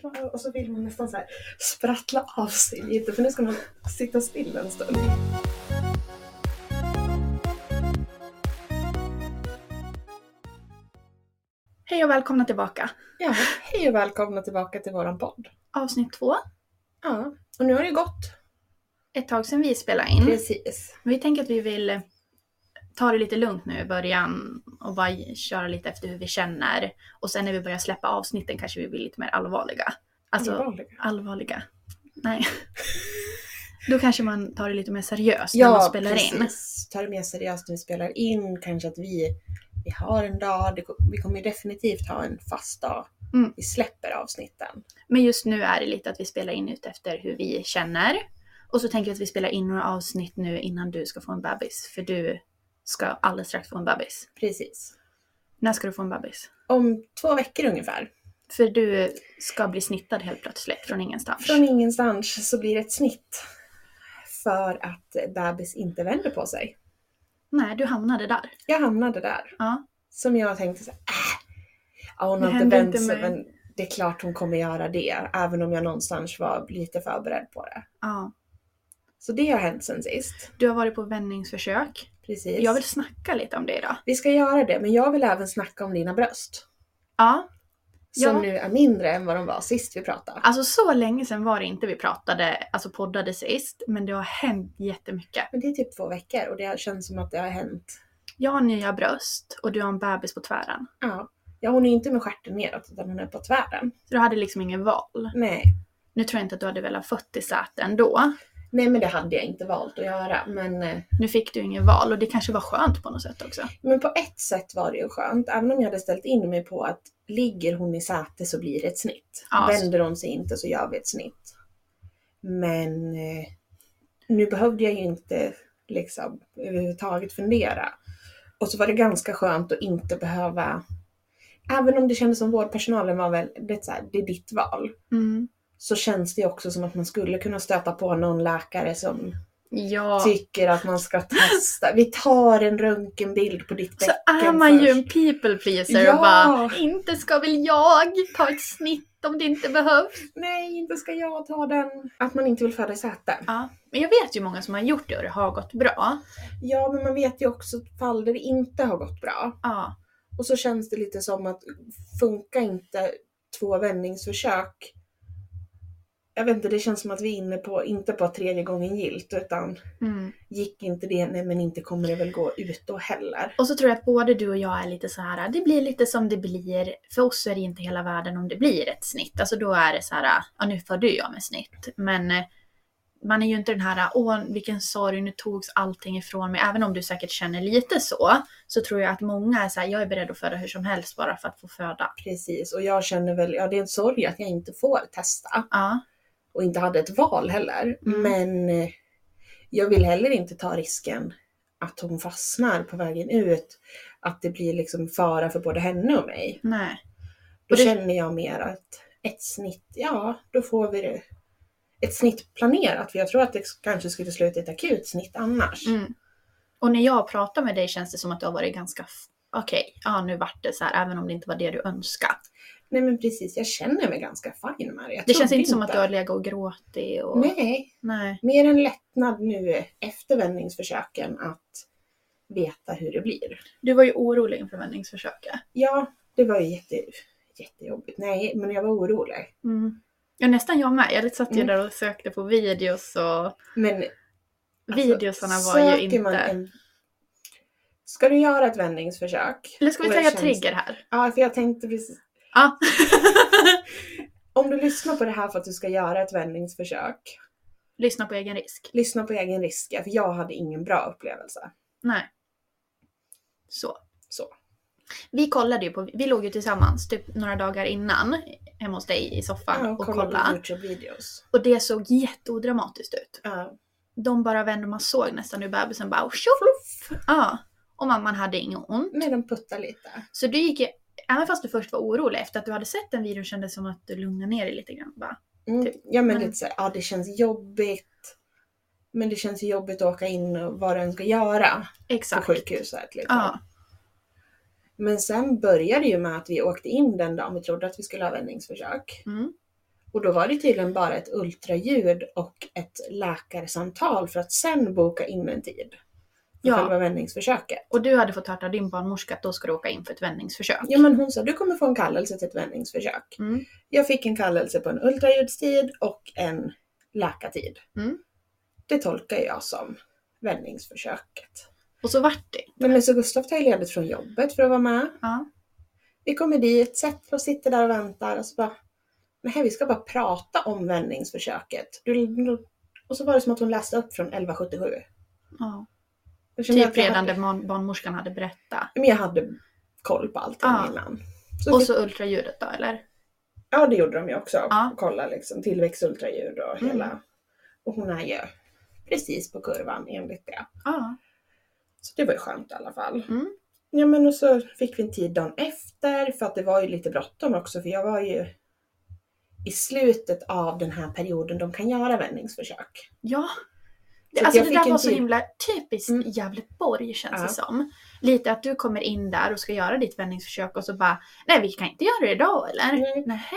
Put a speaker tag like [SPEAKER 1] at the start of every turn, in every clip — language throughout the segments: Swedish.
[SPEAKER 1] kvar och så vill hon nästan så här sprattla av sig lite för nu ska hon sitta still en stund.
[SPEAKER 2] Hej och välkomna tillbaka.
[SPEAKER 1] Ja, hej och välkomna tillbaka till våran podd.
[SPEAKER 2] Avsnitt två.
[SPEAKER 1] Ja, och nu har det gått.
[SPEAKER 2] Ett tag sedan vi spelade in.
[SPEAKER 1] Precis.
[SPEAKER 2] Vi tänker att vi vill ta det lite lugnt nu i början och bara köra lite efter hur vi känner. Och sen när vi börjar släppa avsnitten kanske vi blir lite mer allvarliga. Alltså,
[SPEAKER 1] Allvarliga?
[SPEAKER 2] allvarliga. Nej. Då kanske man tar det lite mer seriöst när man
[SPEAKER 1] Ja,
[SPEAKER 2] spelar in.
[SPEAKER 1] precis. Ta det mer seriöst när vi spelar in. Kanske att vi, vi har en dag. Det, vi kommer ju definitivt ha en fast dag.
[SPEAKER 2] Mm.
[SPEAKER 1] Vi släpper avsnitten.
[SPEAKER 2] Men just nu är det lite att vi spelar in ut efter hur vi känner. Och så tänker jag att vi spelar in några avsnitt nu innan du ska få en bebis. För du ska alldeles strax få en bebis.
[SPEAKER 1] Precis.
[SPEAKER 2] När ska du få en bebis?
[SPEAKER 1] Om två veckor ungefär.
[SPEAKER 2] För du ska bli snittad helt plötsligt från ingenstans.
[SPEAKER 1] Från ingenstans så blir det ett snitt. För att bebis inte vänder på sig.
[SPEAKER 2] Nej, du hamnade där.
[SPEAKER 1] Jag hamnade där.
[SPEAKER 2] Ja.
[SPEAKER 1] Som jag tänkte så här, äh, ja, hon
[SPEAKER 2] Det
[SPEAKER 1] har inte
[SPEAKER 2] hände
[SPEAKER 1] vänt
[SPEAKER 2] inte
[SPEAKER 1] sig
[SPEAKER 2] mig.
[SPEAKER 1] men det är klart hon kommer göra det. Även om jag någonstans var lite förberedd på det.
[SPEAKER 2] ja.
[SPEAKER 1] Så det har hänt sen sist.
[SPEAKER 2] Du har varit på vändningsförsök.
[SPEAKER 1] Precis.
[SPEAKER 2] Jag vill snacka lite om det idag.
[SPEAKER 1] Vi ska göra det men jag vill även snacka om dina bröst.
[SPEAKER 2] Ja,
[SPEAKER 1] Som
[SPEAKER 2] Ja.
[SPEAKER 1] nu är mindre än vad de var sist vi pratade.
[SPEAKER 2] alltså så länge sedan var det inte vi pratade, alltså poddade sist, men det har hänt jättemycket.
[SPEAKER 1] Men det är typ två veckor och det känns som att det har hänt.
[SPEAKER 2] Jag har nya bröst och du har en bebis på tvären.
[SPEAKER 1] Ja. Ja hon är ju inte med stjärten neråt utan hon är på tvären.
[SPEAKER 2] Så du hade liksom ingen val.
[SPEAKER 1] Nej.
[SPEAKER 2] Nu tror jag inte att du hade velat fött i sätet ändå.
[SPEAKER 1] Nej men det hade jag inte valt att göra. Men, eh,
[SPEAKER 2] Nu fick du ingen val och det kanske var skönt på något sätt också.
[SPEAKER 1] men på ett sätt var det ju skönt. Även om jag hade ställt in mig på att ligger hon i säte så blir det ett snitt.
[SPEAKER 2] Ja, så-
[SPEAKER 1] Vänder hon sig inte så gör vi ett snitt. Men eh, nu behövde jag ju inte liksom överhuvudtaget fundera. Och så var det ganska skönt att inte behöva, även om det kändes som vårdpersonalen var väl, det är, så här, det är ditt val.
[SPEAKER 2] Mm.
[SPEAKER 1] Så känns det ju också som att man skulle kunna stöta på någon läkare som
[SPEAKER 2] Ja.
[SPEAKER 1] tycker att man ska testa. Vi tar en röntgenbild på ditt
[SPEAKER 2] Så
[SPEAKER 1] bäcken
[SPEAKER 2] är man ju en
[SPEAKER 1] först.
[SPEAKER 2] people pleaser
[SPEAKER 1] Ja.
[SPEAKER 2] och bara Inte ska väl jag ta ett snitt om det inte behövs.
[SPEAKER 1] Nej, inte ska jag ta den. Att man inte vill föda i säte.
[SPEAKER 2] Ja. Men jag vet ju många som har gjort det och det har gått bra.
[SPEAKER 1] Ja, men man vet ju också fall där det inte har gått bra.
[SPEAKER 2] Ja.
[SPEAKER 1] Och så känns det lite som att funkar inte två vändningsförsök. Jag vet inte, det känns som att vi är inne på, inte på tredje gången gilt utan
[SPEAKER 2] Mm.
[SPEAKER 1] gick inte det, nej men inte kommer det väl gå ut då heller.
[SPEAKER 2] Och så tror jag att både du och jag är lite så här, det blir lite som det blir. För oss är det inte hela världen om det blir ett snitt. Alltså då är det så här, ja nu födde ju jag med snitt. Men eh, man är ju inte den här, åh vilken sorg, nu togs allting ifrån mig. Även om du säkert känner lite så, så tror jag att många är så här, jag är beredd att föda hur som helst bara för att få föda.
[SPEAKER 1] Precis, och jag känner väl, ja det är en sorg att jag inte får testa.
[SPEAKER 2] Ja,
[SPEAKER 1] och inte hade ett val heller.
[SPEAKER 2] Mm.
[SPEAKER 1] Men eh, jag vill heller inte ta risken att hon fastnar på vägen ut. Att det blir liksom fara för både henne och mig.
[SPEAKER 2] Nej.
[SPEAKER 1] Då
[SPEAKER 2] Och det-
[SPEAKER 1] känner jag mer att ett snitt, ja då får vi det. Ett snitt planerat, för jag tror att det kanske skulle sluta i ett akut snitt annars.
[SPEAKER 2] Mm. Och när jag pratar med dig känns det som att du har varit ganska, f- okej, ja nu vart det så här, även om det inte var det du önskade.
[SPEAKER 1] Nej men precis, jag känner mig ganska fin med det. Jag
[SPEAKER 2] Det
[SPEAKER 1] trodde
[SPEAKER 2] känns inte som att du har legat och gråtit och...
[SPEAKER 1] Nej,
[SPEAKER 2] Nej.
[SPEAKER 1] mer en lättnad nu efter vändningsförsöken att veta hur det blir.
[SPEAKER 2] Du var ju orolig inför vändningsförsöket.
[SPEAKER 1] Ja, det var ju jätte, jättejobbigt. Nej, men jag var orolig.
[SPEAKER 2] Mm. Ja, nästan jag med. Jag satt ju
[SPEAKER 1] Mm.
[SPEAKER 2] där och sökte på videos och
[SPEAKER 1] Men alltså,
[SPEAKER 2] videosarna var ju
[SPEAKER 1] söker man
[SPEAKER 2] inte...
[SPEAKER 1] en- Ska du göra ett vändningsförsök?
[SPEAKER 2] Eller ska vi
[SPEAKER 1] Och jag
[SPEAKER 2] säga
[SPEAKER 1] känns-
[SPEAKER 2] trigger här?
[SPEAKER 1] Ja, för jag tänkte precis.
[SPEAKER 2] Ja.
[SPEAKER 1] Om du lyssnar på det här för att du ska göra ett vändningsförsök,
[SPEAKER 2] Lyssna på egen risk.
[SPEAKER 1] lyssna på egen risk. För jag hade ingen bra upplevelse.
[SPEAKER 2] Nej. Så.
[SPEAKER 1] Så.
[SPEAKER 2] Vi kollade ju på, vi låg ju tillsammans typ några dagar innan hemma hos dig i soffan
[SPEAKER 1] Ja,
[SPEAKER 2] och
[SPEAKER 1] kolla
[SPEAKER 2] kollade.
[SPEAKER 1] på Youtube-videos.
[SPEAKER 2] Och det såg jätteodramatiskt ut.
[SPEAKER 1] Ja.
[SPEAKER 2] De bara vände, man såg nästan hur bebisen bara tjoff! Ja. Och mamman hade inget ont.
[SPEAKER 1] Nej, de puttar lite.
[SPEAKER 2] Så du gick ju, även fast du först var orolig efter att du hade sett den videon kändes det som att du lugnade ner dig lite grann. Bara,
[SPEAKER 1] Mm,
[SPEAKER 2] Typ.
[SPEAKER 1] Ja men
[SPEAKER 2] Men-
[SPEAKER 1] lite såhär, ja det känns jobbigt. Men det känns ju jobbigt att åka in och vad den ska göra på
[SPEAKER 2] Exakt.
[SPEAKER 1] sjukhuset. Liksom.
[SPEAKER 2] Ja.
[SPEAKER 1] Men sen började det ju med att vi åkte in den dagen vi trodde att vi skulle ha vändningsförsök.
[SPEAKER 2] Mm.
[SPEAKER 1] Och då var det tydligen bara ett ultraljud och ett läkarsamtal för att sen boka in en tid. För
[SPEAKER 2] Ja.
[SPEAKER 1] själva vändningsförsöket.
[SPEAKER 2] Och du hade fått höra av din barnmorska att då ska du åka in för ett vändningsförsök.
[SPEAKER 1] Ja men hon sa, du kommer få en kallelse till ett vändningsförsök.
[SPEAKER 2] Mm.
[SPEAKER 1] Jag fick en kallelse på en ultraljudstid och en läkartid.
[SPEAKER 2] Mm.
[SPEAKER 1] Det tolkar jag som vändningsförsöket.
[SPEAKER 2] Och så vart det.
[SPEAKER 1] Men nu så Gustav tar ju ledigt från jobbet för att vara med.
[SPEAKER 2] Ja.
[SPEAKER 1] Vi kommer dit, sätter oss, sitter där och väntar och så bara Nej, vi ska bara prata om vändningsförsöket. Du, och så var det som att hon läste upp från 1177.
[SPEAKER 2] ja.
[SPEAKER 1] Jag kände
[SPEAKER 2] Typ
[SPEAKER 1] att jag
[SPEAKER 2] redan
[SPEAKER 1] hade,
[SPEAKER 2] det man- barnmorskan hade berättat.
[SPEAKER 1] Men jag hade koll på allting
[SPEAKER 2] Ja.
[SPEAKER 1] innan.
[SPEAKER 2] Och
[SPEAKER 1] fick-
[SPEAKER 2] så ultraljudet då eller?
[SPEAKER 1] Ja, det gjorde de ju också.
[SPEAKER 2] Ja.
[SPEAKER 1] Kolla liksom tillväxtultraljud och
[SPEAKER 2] Ah. Mm.
[SPEAKER 1] hela. Och hon är ju precis på kurvan enligt det.
[SPEAKER 2] Ja.
[SPEAKER 1] Så det var ju skönt i alla fall.
[SPEAKER 2] Mm.
[SPEAKER 1] Ja men och så fick vi en tid dagen efter för att det var ju lite bråttom också för jag var ju i slutet av den här perioden de kan göra vändningsförsök.
[SPEAKER 2] Ja.
[SPEAKER 1] Så
[SPEAKER 2] Det,
[SPEAKER 1] att
[SPEAKER 2] alltså
[SPEAKER 1] jag
[SPEAKER 2] det
[SPEAKER 1] fick
[SPEAKER 2] där
[SPEAKER 1] en
[SPEAKER 2] var så
[SPEAKER 1] typ-
[SPEAKER 2] himla typiskt
[SPEAKER 1] Mm.
[SPEAKER 2] Gävleborg känns
[SPEAKER 1] Ja.
[SPEAKER 2] det som. Lite att du kommer in där och ska göra ditt vändningsförsök och så bara Nej vi kan inte göra det idag eller?
[SPEAKER 1] Nej.
[SPEAKER 2] Nähä.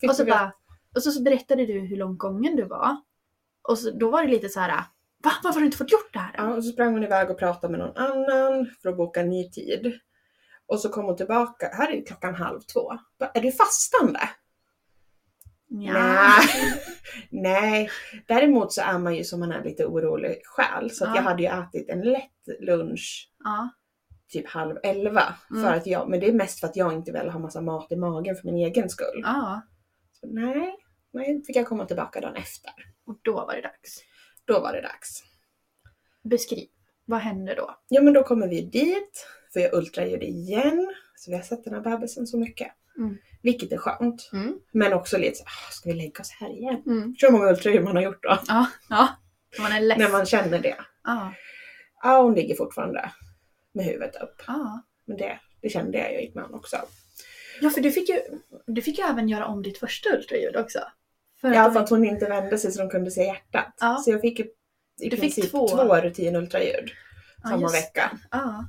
[SPEAKER 1] Fick
[SPEAKER 2] Och så,
[SPEAKER 1] vi veta-
[SPEAKER 2] bara, och så, så berättade du hur långt gången du var. Och så, då var det lite så här. Va? Varför har du inte fått gjort det här?
[SPEAKER 1] ja, och så sprang hon iväg och pratade med någon annan för att boka en ny tid. Och så kom hon tillbaka, här är klockan halv två. Bara, Är du fastande?
[SPEAKER 2] Nja.
[SPEAKER 1] Nej. Nej, däremot så är man ju som man är lite orolig själ. Så att
[SPEAKER 2] Ja.
[SPEAKER 1] jag hade ju ätit en lätt lunch
[SPEAKER 2] Ja.
[SPEAKER 1] typ halv elva.
[SPEAKER 2] Mm.
[SPEAKER 1] För att jag, men det är mest för att jag inte vill ha massa mat i magen för min egen skull.
[SPEAKER 2] ja.
[SPEAKER 1] Så, nej, nej, fick jag komma tillbaka dagen efter.
[SPEAKER 2] Och då var det dags.
[SPEAKER 1] Då var det dags.
[SPEAKER 2] Beskriv. Vad hände då?
[SPEAKER 1] Ja men då kommer vi dit, för jag ultraljud igen. Så vi har sett den här bebisen så mycket.
[SPEAKER 2] Mm.
[SPEAKER 1] Vilket är skönt.
[SPEAKER 2] Mm.
[SPEAKER 1] Men också lite så, "Ah, ska vi lägga oss här igen?
[SPEAKER 2] Mm.
[SPEAKER 1] Förstår du hur många ultraljud man har gjort då?
[SPEAKER 2] Ja. Ja. Man är less.
[SPEAKER 1] När man känner det.
[SPEAKER 2] Ja.
[SPEAKER 1] Ja, hon ligger fortfarande med huvudet upp.
[SPEAKER 2] Ja.
[SPEAKER 1] Men det, det kände jag ju gick med honom också.
[SPEAKER 2] Ja, för du fick, ju, du fick ju även göra om ditt första ultraljud också. För
[SPEAKER 1] Ja,
[SPEAKER 2] att
[SPEAKER 1] för
[SPEAKER 2] de-
[SPEAKER 1] att hon inte vände sig så de kunde se hjärtat.
[SPEAKER 2] Ja.
[SPEAKER 1] Så jag fick i, i
[SPEAKER 2] Du fick
[SPEAKER 1] princip
[SPEAKER 2] två.
[SPEAKER 1] två, rutinultraljud
[SPEAKER 2] Ja,
[SPEAKER 1] samma
[SPEAKER 2] just
[SPEAKER 1] vecka.
[SPEAKER 2] Ja.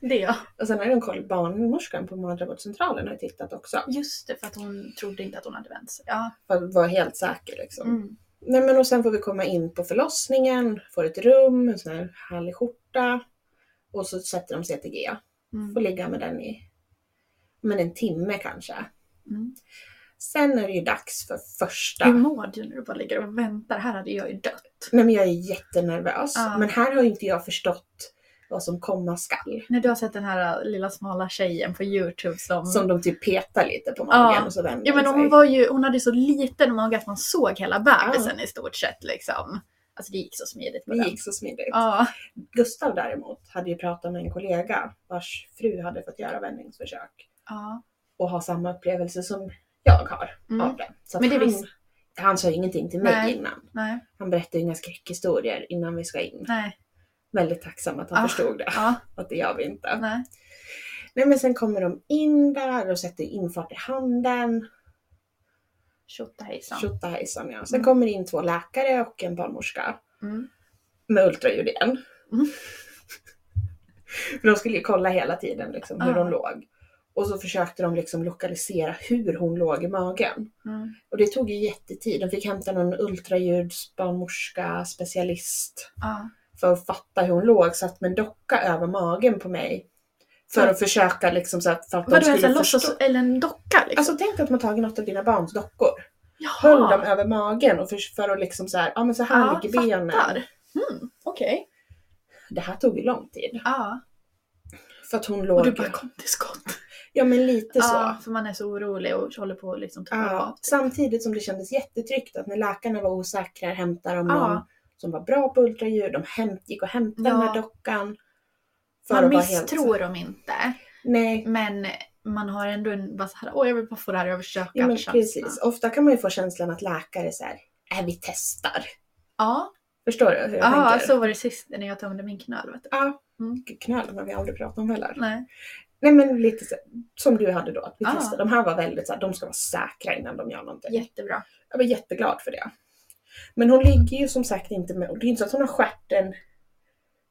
[SPEAKER 2] Det ja.
[SPEAKER 1] Och sen har de kollat barnmorskan på mödravårdscentralen har tittat också.
[SPEAKER 2] Just det, för att hon trodde inte att hon hade vänt sig. Ja.
[SPEAKER 1] För att vara helt säker liksom.
[SPEAKER 2] Mm.
[SPEAKER 1] Nej men och sen får vi komma in på förlossningen, får ett rum, en sån här härlig skjorta. Och så sätter de CTG. Får
[SPEAKER 2] Mm.
[SPEAKER 1] ligga med den i men en timme kanske.
[SPEAKER 2] Mm.
[SPEAKER 1] Sen är det ju dags för första.
[SPEAKER 2] Hur mår du när du bara ligger och väntar? Här hade jag ju dött.
[SPEAKER 1] Nej men jag är jättenervös.
[SPEAKER 2] Ja.
[SPEAKER 1] Men här har ju inte jag förstått vad som komma skall.
[SPEAKER 2] När du har sett den här äh, lilla smala tjejen på youtube som...
[SPEAKER 1] Som de typ petar lite på magen
[SPEAKER 2] Ja.
[SPEAKER 1] och så vänder
[SPEAKER 2] ja men
[SPEAKER 1] den
[SPEAKER 2] hon
[SPEAKER 1] sig.
[SPEAKER 2] var ju, hon hade ju så liten mage att man såg hela bebisen i stort sett liksom. Alltså det gick så smidigt på
[SPEAKER 1] Det
[SPEAKER 2] den.
[SPEAKER 1] gick så smidigt.
[SPEAKER 2] Ja.
[SPEAKER 1] Gustav däremot hade ju pratat med en kollega vars fru hade fått göra vändningsförsök
[SPEAKER 2] ja.
[SPEAKER 1] och ha samma upplevelse som jag har
[SPEAKER 2] Mm.
[SPEAKER 1] av det. Så att
[SPEAKER 2] Men det
[SPEAKER 1] han,
[SPEAKER 2] visst-
[SPEAKER 1] han sa ju ingenting till mig
[SPEAKER 2] Nej.
[SPEAKER 1] innan.
[SPEAKER 2] Nej.
[SPEAKER 1] Han berättade inga skräckhistorier innan vi ska in.
[SPEAKER 2] Nej.
[SPEAKER 1] väldigt tacksam att han
[SPEAKER 2] Ja.
[SPEAKER 1] förstod det.
[SPEAKER 2] Ja,
[SPEAKER 1] Att det gör vi inte. Nej.
[SPEAKER 2] Ah. nej.
[SPEAKER 1] men sen kommer de in där och sätter infart i handen.
[SPEAKER 2] Tjottahejsan.
[SPEAKER 1] Tjottahejsan ja. Sen
[SPEAKER 2] Liksom. Mm.
[SPEAKER 1] kommer in två läkare och en barnmorska.
[SPEAKER 2] Mm.
[SPEAKER 1] Med ultraljud igen.
[SPEAKER 2] Mm.
[SPEAKER 1] För de skulle ju kolla hela tiden liksom, hur
[SPEAKER 2] Ja.
[SPEAKER 1] hon låg. Och så försökte de liksom lokalisera hur hon låg i magen.
[SPEAKER 2] Mm.
[SPEAKER 1] Och det tog ju jättetid. De fick hämta någon ultraljudsbarnmorska, specialist
[SPEAKER 2] Ja.
[SPEAKER 1] för att fatta hur hon låg. Satt med en docka över magen på mig. För att försöka liksom så att, för att de
[SPEAKER 2] Vadå, en sån
[SPEAKER 1] skulle
[SPEAKER 2] här
[SPEAKER 1] förstå.
[SPEAKER 2] låtsas... Eller en docka liksom?
[SPEAKER 1] Alltså tänk att man tagit något av dina barns dockor.
[SPEAKER 2] Jaha.
[SPEAKER 1] Höll dem över magen och för, för att liksom så här, ja men så här
[SPEAKER 2] Ja,
[SPEAKER 1] ligger benen.
[SPEAKER 2] fattar. Mm, Okej.
[SPEAKER 1] Det här tog ju lång tid.
[SPEAKER 2] Ja.
[SPEAKER 1] För att hon
[SPEAKER 2] Och
[SPEAKER 1] låg
[SPEAKER 2] du bara kom till skott.
[SPEAKER 1] Ja men lite
[SPEAKER 2] Ja,
[SPEAKER 1] så.
[SPEAKER 2] för man är så orolig och håller på att liksom tappa
[SPEAKER 1] Ja.
[SPEAKER 2] av.
[SPEAKER 1] Samtidigt som det kändes jättetryggt att när läkarna var osäkra hämtade de
[SPEAKER 2] Ja.
[SPEAKER 1] någon som var bra på ultraljud. De hämt, gick och hämtade den
[SPEAKER 2] Ja.
[SPEAKER 1] här dockan.
[SPEAKER 2] Man
[SPEAKER 1] att vara helt-
[SPEAKER 2] misstror Mm, dem inte,
[SPEAKER 1] Nej,
[SPEAKER 2] men man har ändå en bara så här, åh jag vill bara få det här över kökat
[SPEAKER 1] ja, men
[SPEAKER 2] känslan."
[SPEAKER 1] precis. Ofta kan man ju få känslan att läkare så här, äh, vi testar.
[SPEAKER 2] Ja,
[SPEAKER 1] Förstår du hur jag
[SPEAKER 2] ja
[SPEAKER 1] tänker?
[SPEAKER 2] så var det sist när jag tömde min knöl. Vet du.
[SPEAKER 1] Ja.
[SPEAKER 2] Mm.
[SPEAKER 1] Gud, Knölen har vi aldrig pratat om heller.
[SPEAKER 2] Nej.
[SPEAKER 1] Nej men lite så, som du hade då, att vi
[SPEAKER 2] Ja.
[SPEAKER 1] testar. De här var väldigt så här, de ska vara säkra innan de gör någonting.
[SPEAKER 2] Jättebra.
[SPEAKER 1] Jag var jätteglad för det. Men hon ligger ju som sagt inte med, och det är inte så att hon har stjärten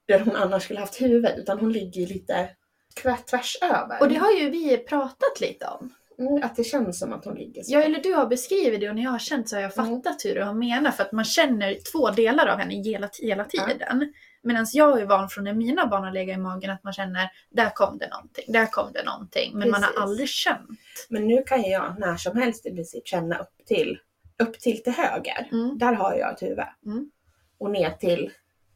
[SPEAKER 1] där hon annars skulle haft huvudet, utan hon ligger ju lite kvärt tvärs över.
[SPEAKER 2] Och det har ju vi pratat lite om.
[SPEAKER 1] Mm, att det känns som att hon ligger så.
[SPEAKER 2] Ja, eller du har beskrivit det och när jag har känt så har jag
[SPEAKER 1] Mm.
[SPEAKER 2] fattat hur du har menat för att man känner två delar av henne hela, hela tiden. Medan jag är van från när mina barn har legat i magen att man känner där kom det någonting, där kom det någonting. Men man
[SPEAKER 1] Precis.
[SPEAKER 2] har aldrig känt.
[SPEAKER 1] Men nu kan ju jag när som helst i princip känna upp till, upp till till höger.
[SPEAKER 2] Mm.
[SPEAKER 1] Där har jag ett huvud.
[SPEAKER 2] Mm.
[SPEAKER 1] Och ner till,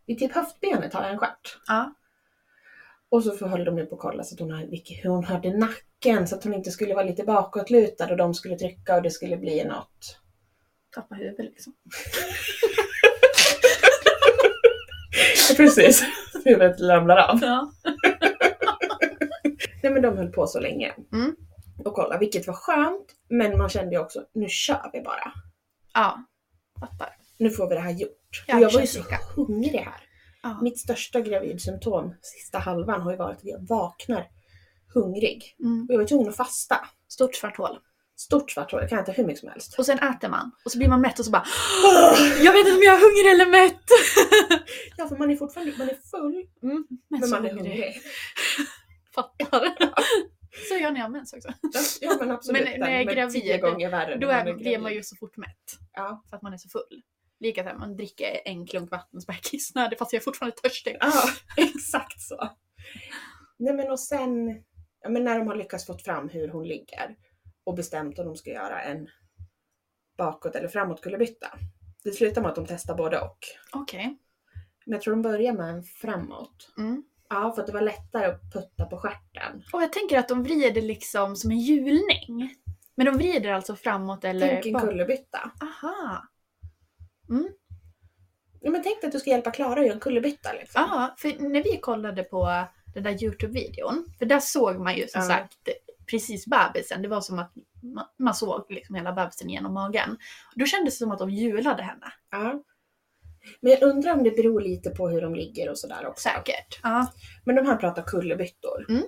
[SPEAKER 1] vid typ höftbenet har jag en stjärt.
[SPEAKER 2] Ja.
[SPEAKER 1] Och så får- höll de ju på att kolla så att hon, har- vilk- hur hon hörde nacken så att hon inte skulle vara lite bakåtlutad och de skulle trycka och det skulle bli något.
[SPEAKER 2] Tappa huvudet liksom.
[SPEAKER 1] Precis, huvudet ramlar av.
[SPEAKER 2] Ja.
[SPEAKER 1] Nej men de höll på så länge.
[SPEAKER 2] Mm.
[SPEAKER 1] Och kolla, vilket var skönt. Men man kände ju också, nu kör vi bara.
[SPEAKER 2] Ja. Fattar.
[SPEAKER 1] Nu får vi det här gjort.
[SPEAKER 2] Ja,
[SPEAKER 1] och jag var ju
[SPEAKER 2] känns
[SPEAKER 1] så
[SPEAKER 2] lika.
[SPEAKER 1] hungrig här.
[SPEAKER 2] Ja.
[SPEAKER 1] Mitt största gravidsymptom sista halvan har ju varit att jag vaknar hungrig.
[SPEAKER 2] Mm.
[SPEAKER 1] Och jag var tvungen att fasta.
[SPEAKER 2] Stort svart hål.
[SPEAKER 1] Stort svart hår, jag kan äta hur mycket som helst.
[SPEAKER 2] Och sen äter man. Och så blir man mätt och så bara Jag vet inte om jag är hungrig eller mätt!
[SPEAKER 1] Ja för man är fortfarande man är full,
[SPEAKER 2] Mm, men,
[SPEAKER 1] men
[SPEAKER 2] så
[SPEAKER 1] man är hungrig.
[SPEAKER 2] Fattar. Så gör jag när jag har mens också.
[SPEAKER 1] Ja men absolut.
[SPEAKER 2] Men när jag är
[SPEAKER 1] men
[SPEAKER 2] gravid,
[SPEAKER 1] tio gånger värre
[SPEAKER 2] Då
[SPEAKER 1] när man
[SPEAKER 2] är, blir
[SPEAKER 1] gravid.
[SPEAKER 2] man ju så fort mätt.
[SPEAKER 1] Ja.
[SPEAKER 2] För att man är så full. Lika att man dricker en klunk vatten och så bara kissnödig fast jag är fortfarande törstig.
[SPEAKER 1] ja, exakt så. Nej men och sen, ja, men när de har lyckats få fram hur hon ligger och bestämt om de ska göra en bakåt eller framåt kullerbytta. Det slutar med att de testar både och.
[SPEAKER 2] Okej.
[SPEAKER 1] Men jag tror de börjar med en framåt.
[SPEAKER 2] Mm.
[SPEAKER 1] Ja, för att det var lättare att putta på stjärten.
[SPEAKER 2] Och jag tänker att de vrider liksom som en hjulning. Men de vrider alltså framåt eller
[SPEAKER 1] Tänk en kullerbytta.
[SPEAKER 2] Aha. Mm.
[SPEAKER 1] Ja, men tänk dig att du ska hjälpa Klara att göra en kullerbytta. Liksom.
[SPEAKER 2] Ja, för när vi kollade på den där Youtube-videon, för där såg man ju som
[SPEAKER 1] Ja.
[SPEAKER 2] sagt precis bebisen. Det var som att man, man såg liksom hela bebisen genom magen. Då kändes det som att de hjulade henne.
[SPEAKER 1] Ja. Men jag undrar om det beror lite på hur de ligger och sådär också.
[SPEAKER 2] Säkert. Ja.
[SPEAKER 1] Men de här pratar kullerbyttor.
[SPEAKER 2] Mm.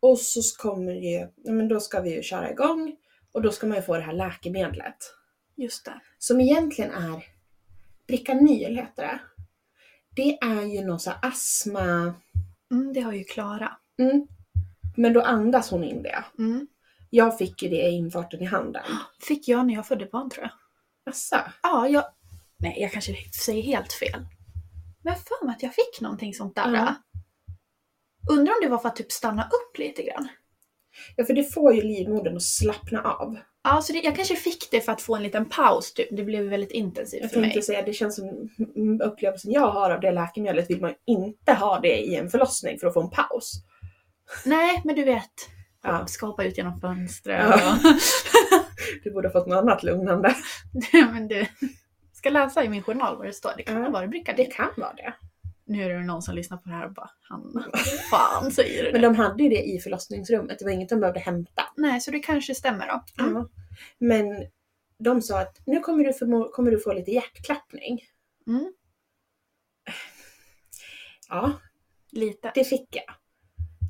[SPEAKER 1] Och så kommer ju, ja, men då ska vi ju köra igång och då ska man ju få det här läkemedlet.
[SPEAKER 2] Just det.
[SPEAKER 1] Som egentligen är Bricanyl heter det. Det är ju någon sån här astma...
[SPEAKER 2] Mm, det har ju Klara.
[SPEAKER 1] Mm. Men då andas hon in det.
[SPEAKER 2] Mm.
[SPEAKER 1] Jag fick ju det i infarten i handen.
[SPEAKER 2] Fick jag när jag födde barn tror jag.
[SPEAKER 1] Jaså?
[SPEAKER 2] Ja, jag... Nej, jag kanske säger helt fel. Men jag har för mig att jag fick någonting sånt där. äh.
[SPEAKER 1] Ja.
[SPEAKER 2] Undrar om det var för att typ stanna upp lite grann.
[SPEAKER 1] Ja, för det får ju livmodern att slappna av.
[SPEAKER 2] Ja, så det, jag kanske fick det för att få en liten paus typ. Det blev väldigt intensivt
[SPEAKER 1] Jag
[SPEAKER 2] för mig.
[SPEAKER 1] tänkte säga, det känns som mm, upplevelsen jag har av det läkemedlet vill man ju inte ha det i en förlossning för att få en paus.
[SPEAKER 2] Nej, men du vet.
[SPEAKER 1] Ja.
[SPEAKER 2] Ska hoppa ut genom fönstret
[SPEAKER 1] Ja.
[SPEAKER 2] och...
[SPEAKER 1] Du borde ha fått något annat lugnande.
[SPEAKER 2] men du. Ska läsa i min journal vad det står. Det kan
[SPEAKER 1] Ja.
[SPEAKER 2] vara det brukar
[SPEAKER 1] Det kan vara det.
[SPEAKER 2] Nu är det någon som lyssnar på det här och bara Hanna, fan säger du det?
[SPEAKER 1] Men de hade ju det i förlossningsrummet, det var inget de behövde hämta.
[SPEAKER 2] Nej, så det kanske stämmer då.
[SPEAKER 1] Ja. Men de sa Mm. att nu kommer du, förmo- kommer du få lite hjärtklappning.
[SPEAKER 2] Mm.
[SPEAKER 1] Ja,
[SPEAKER 2] Lite.
[SPEAKER 1] det fick jag.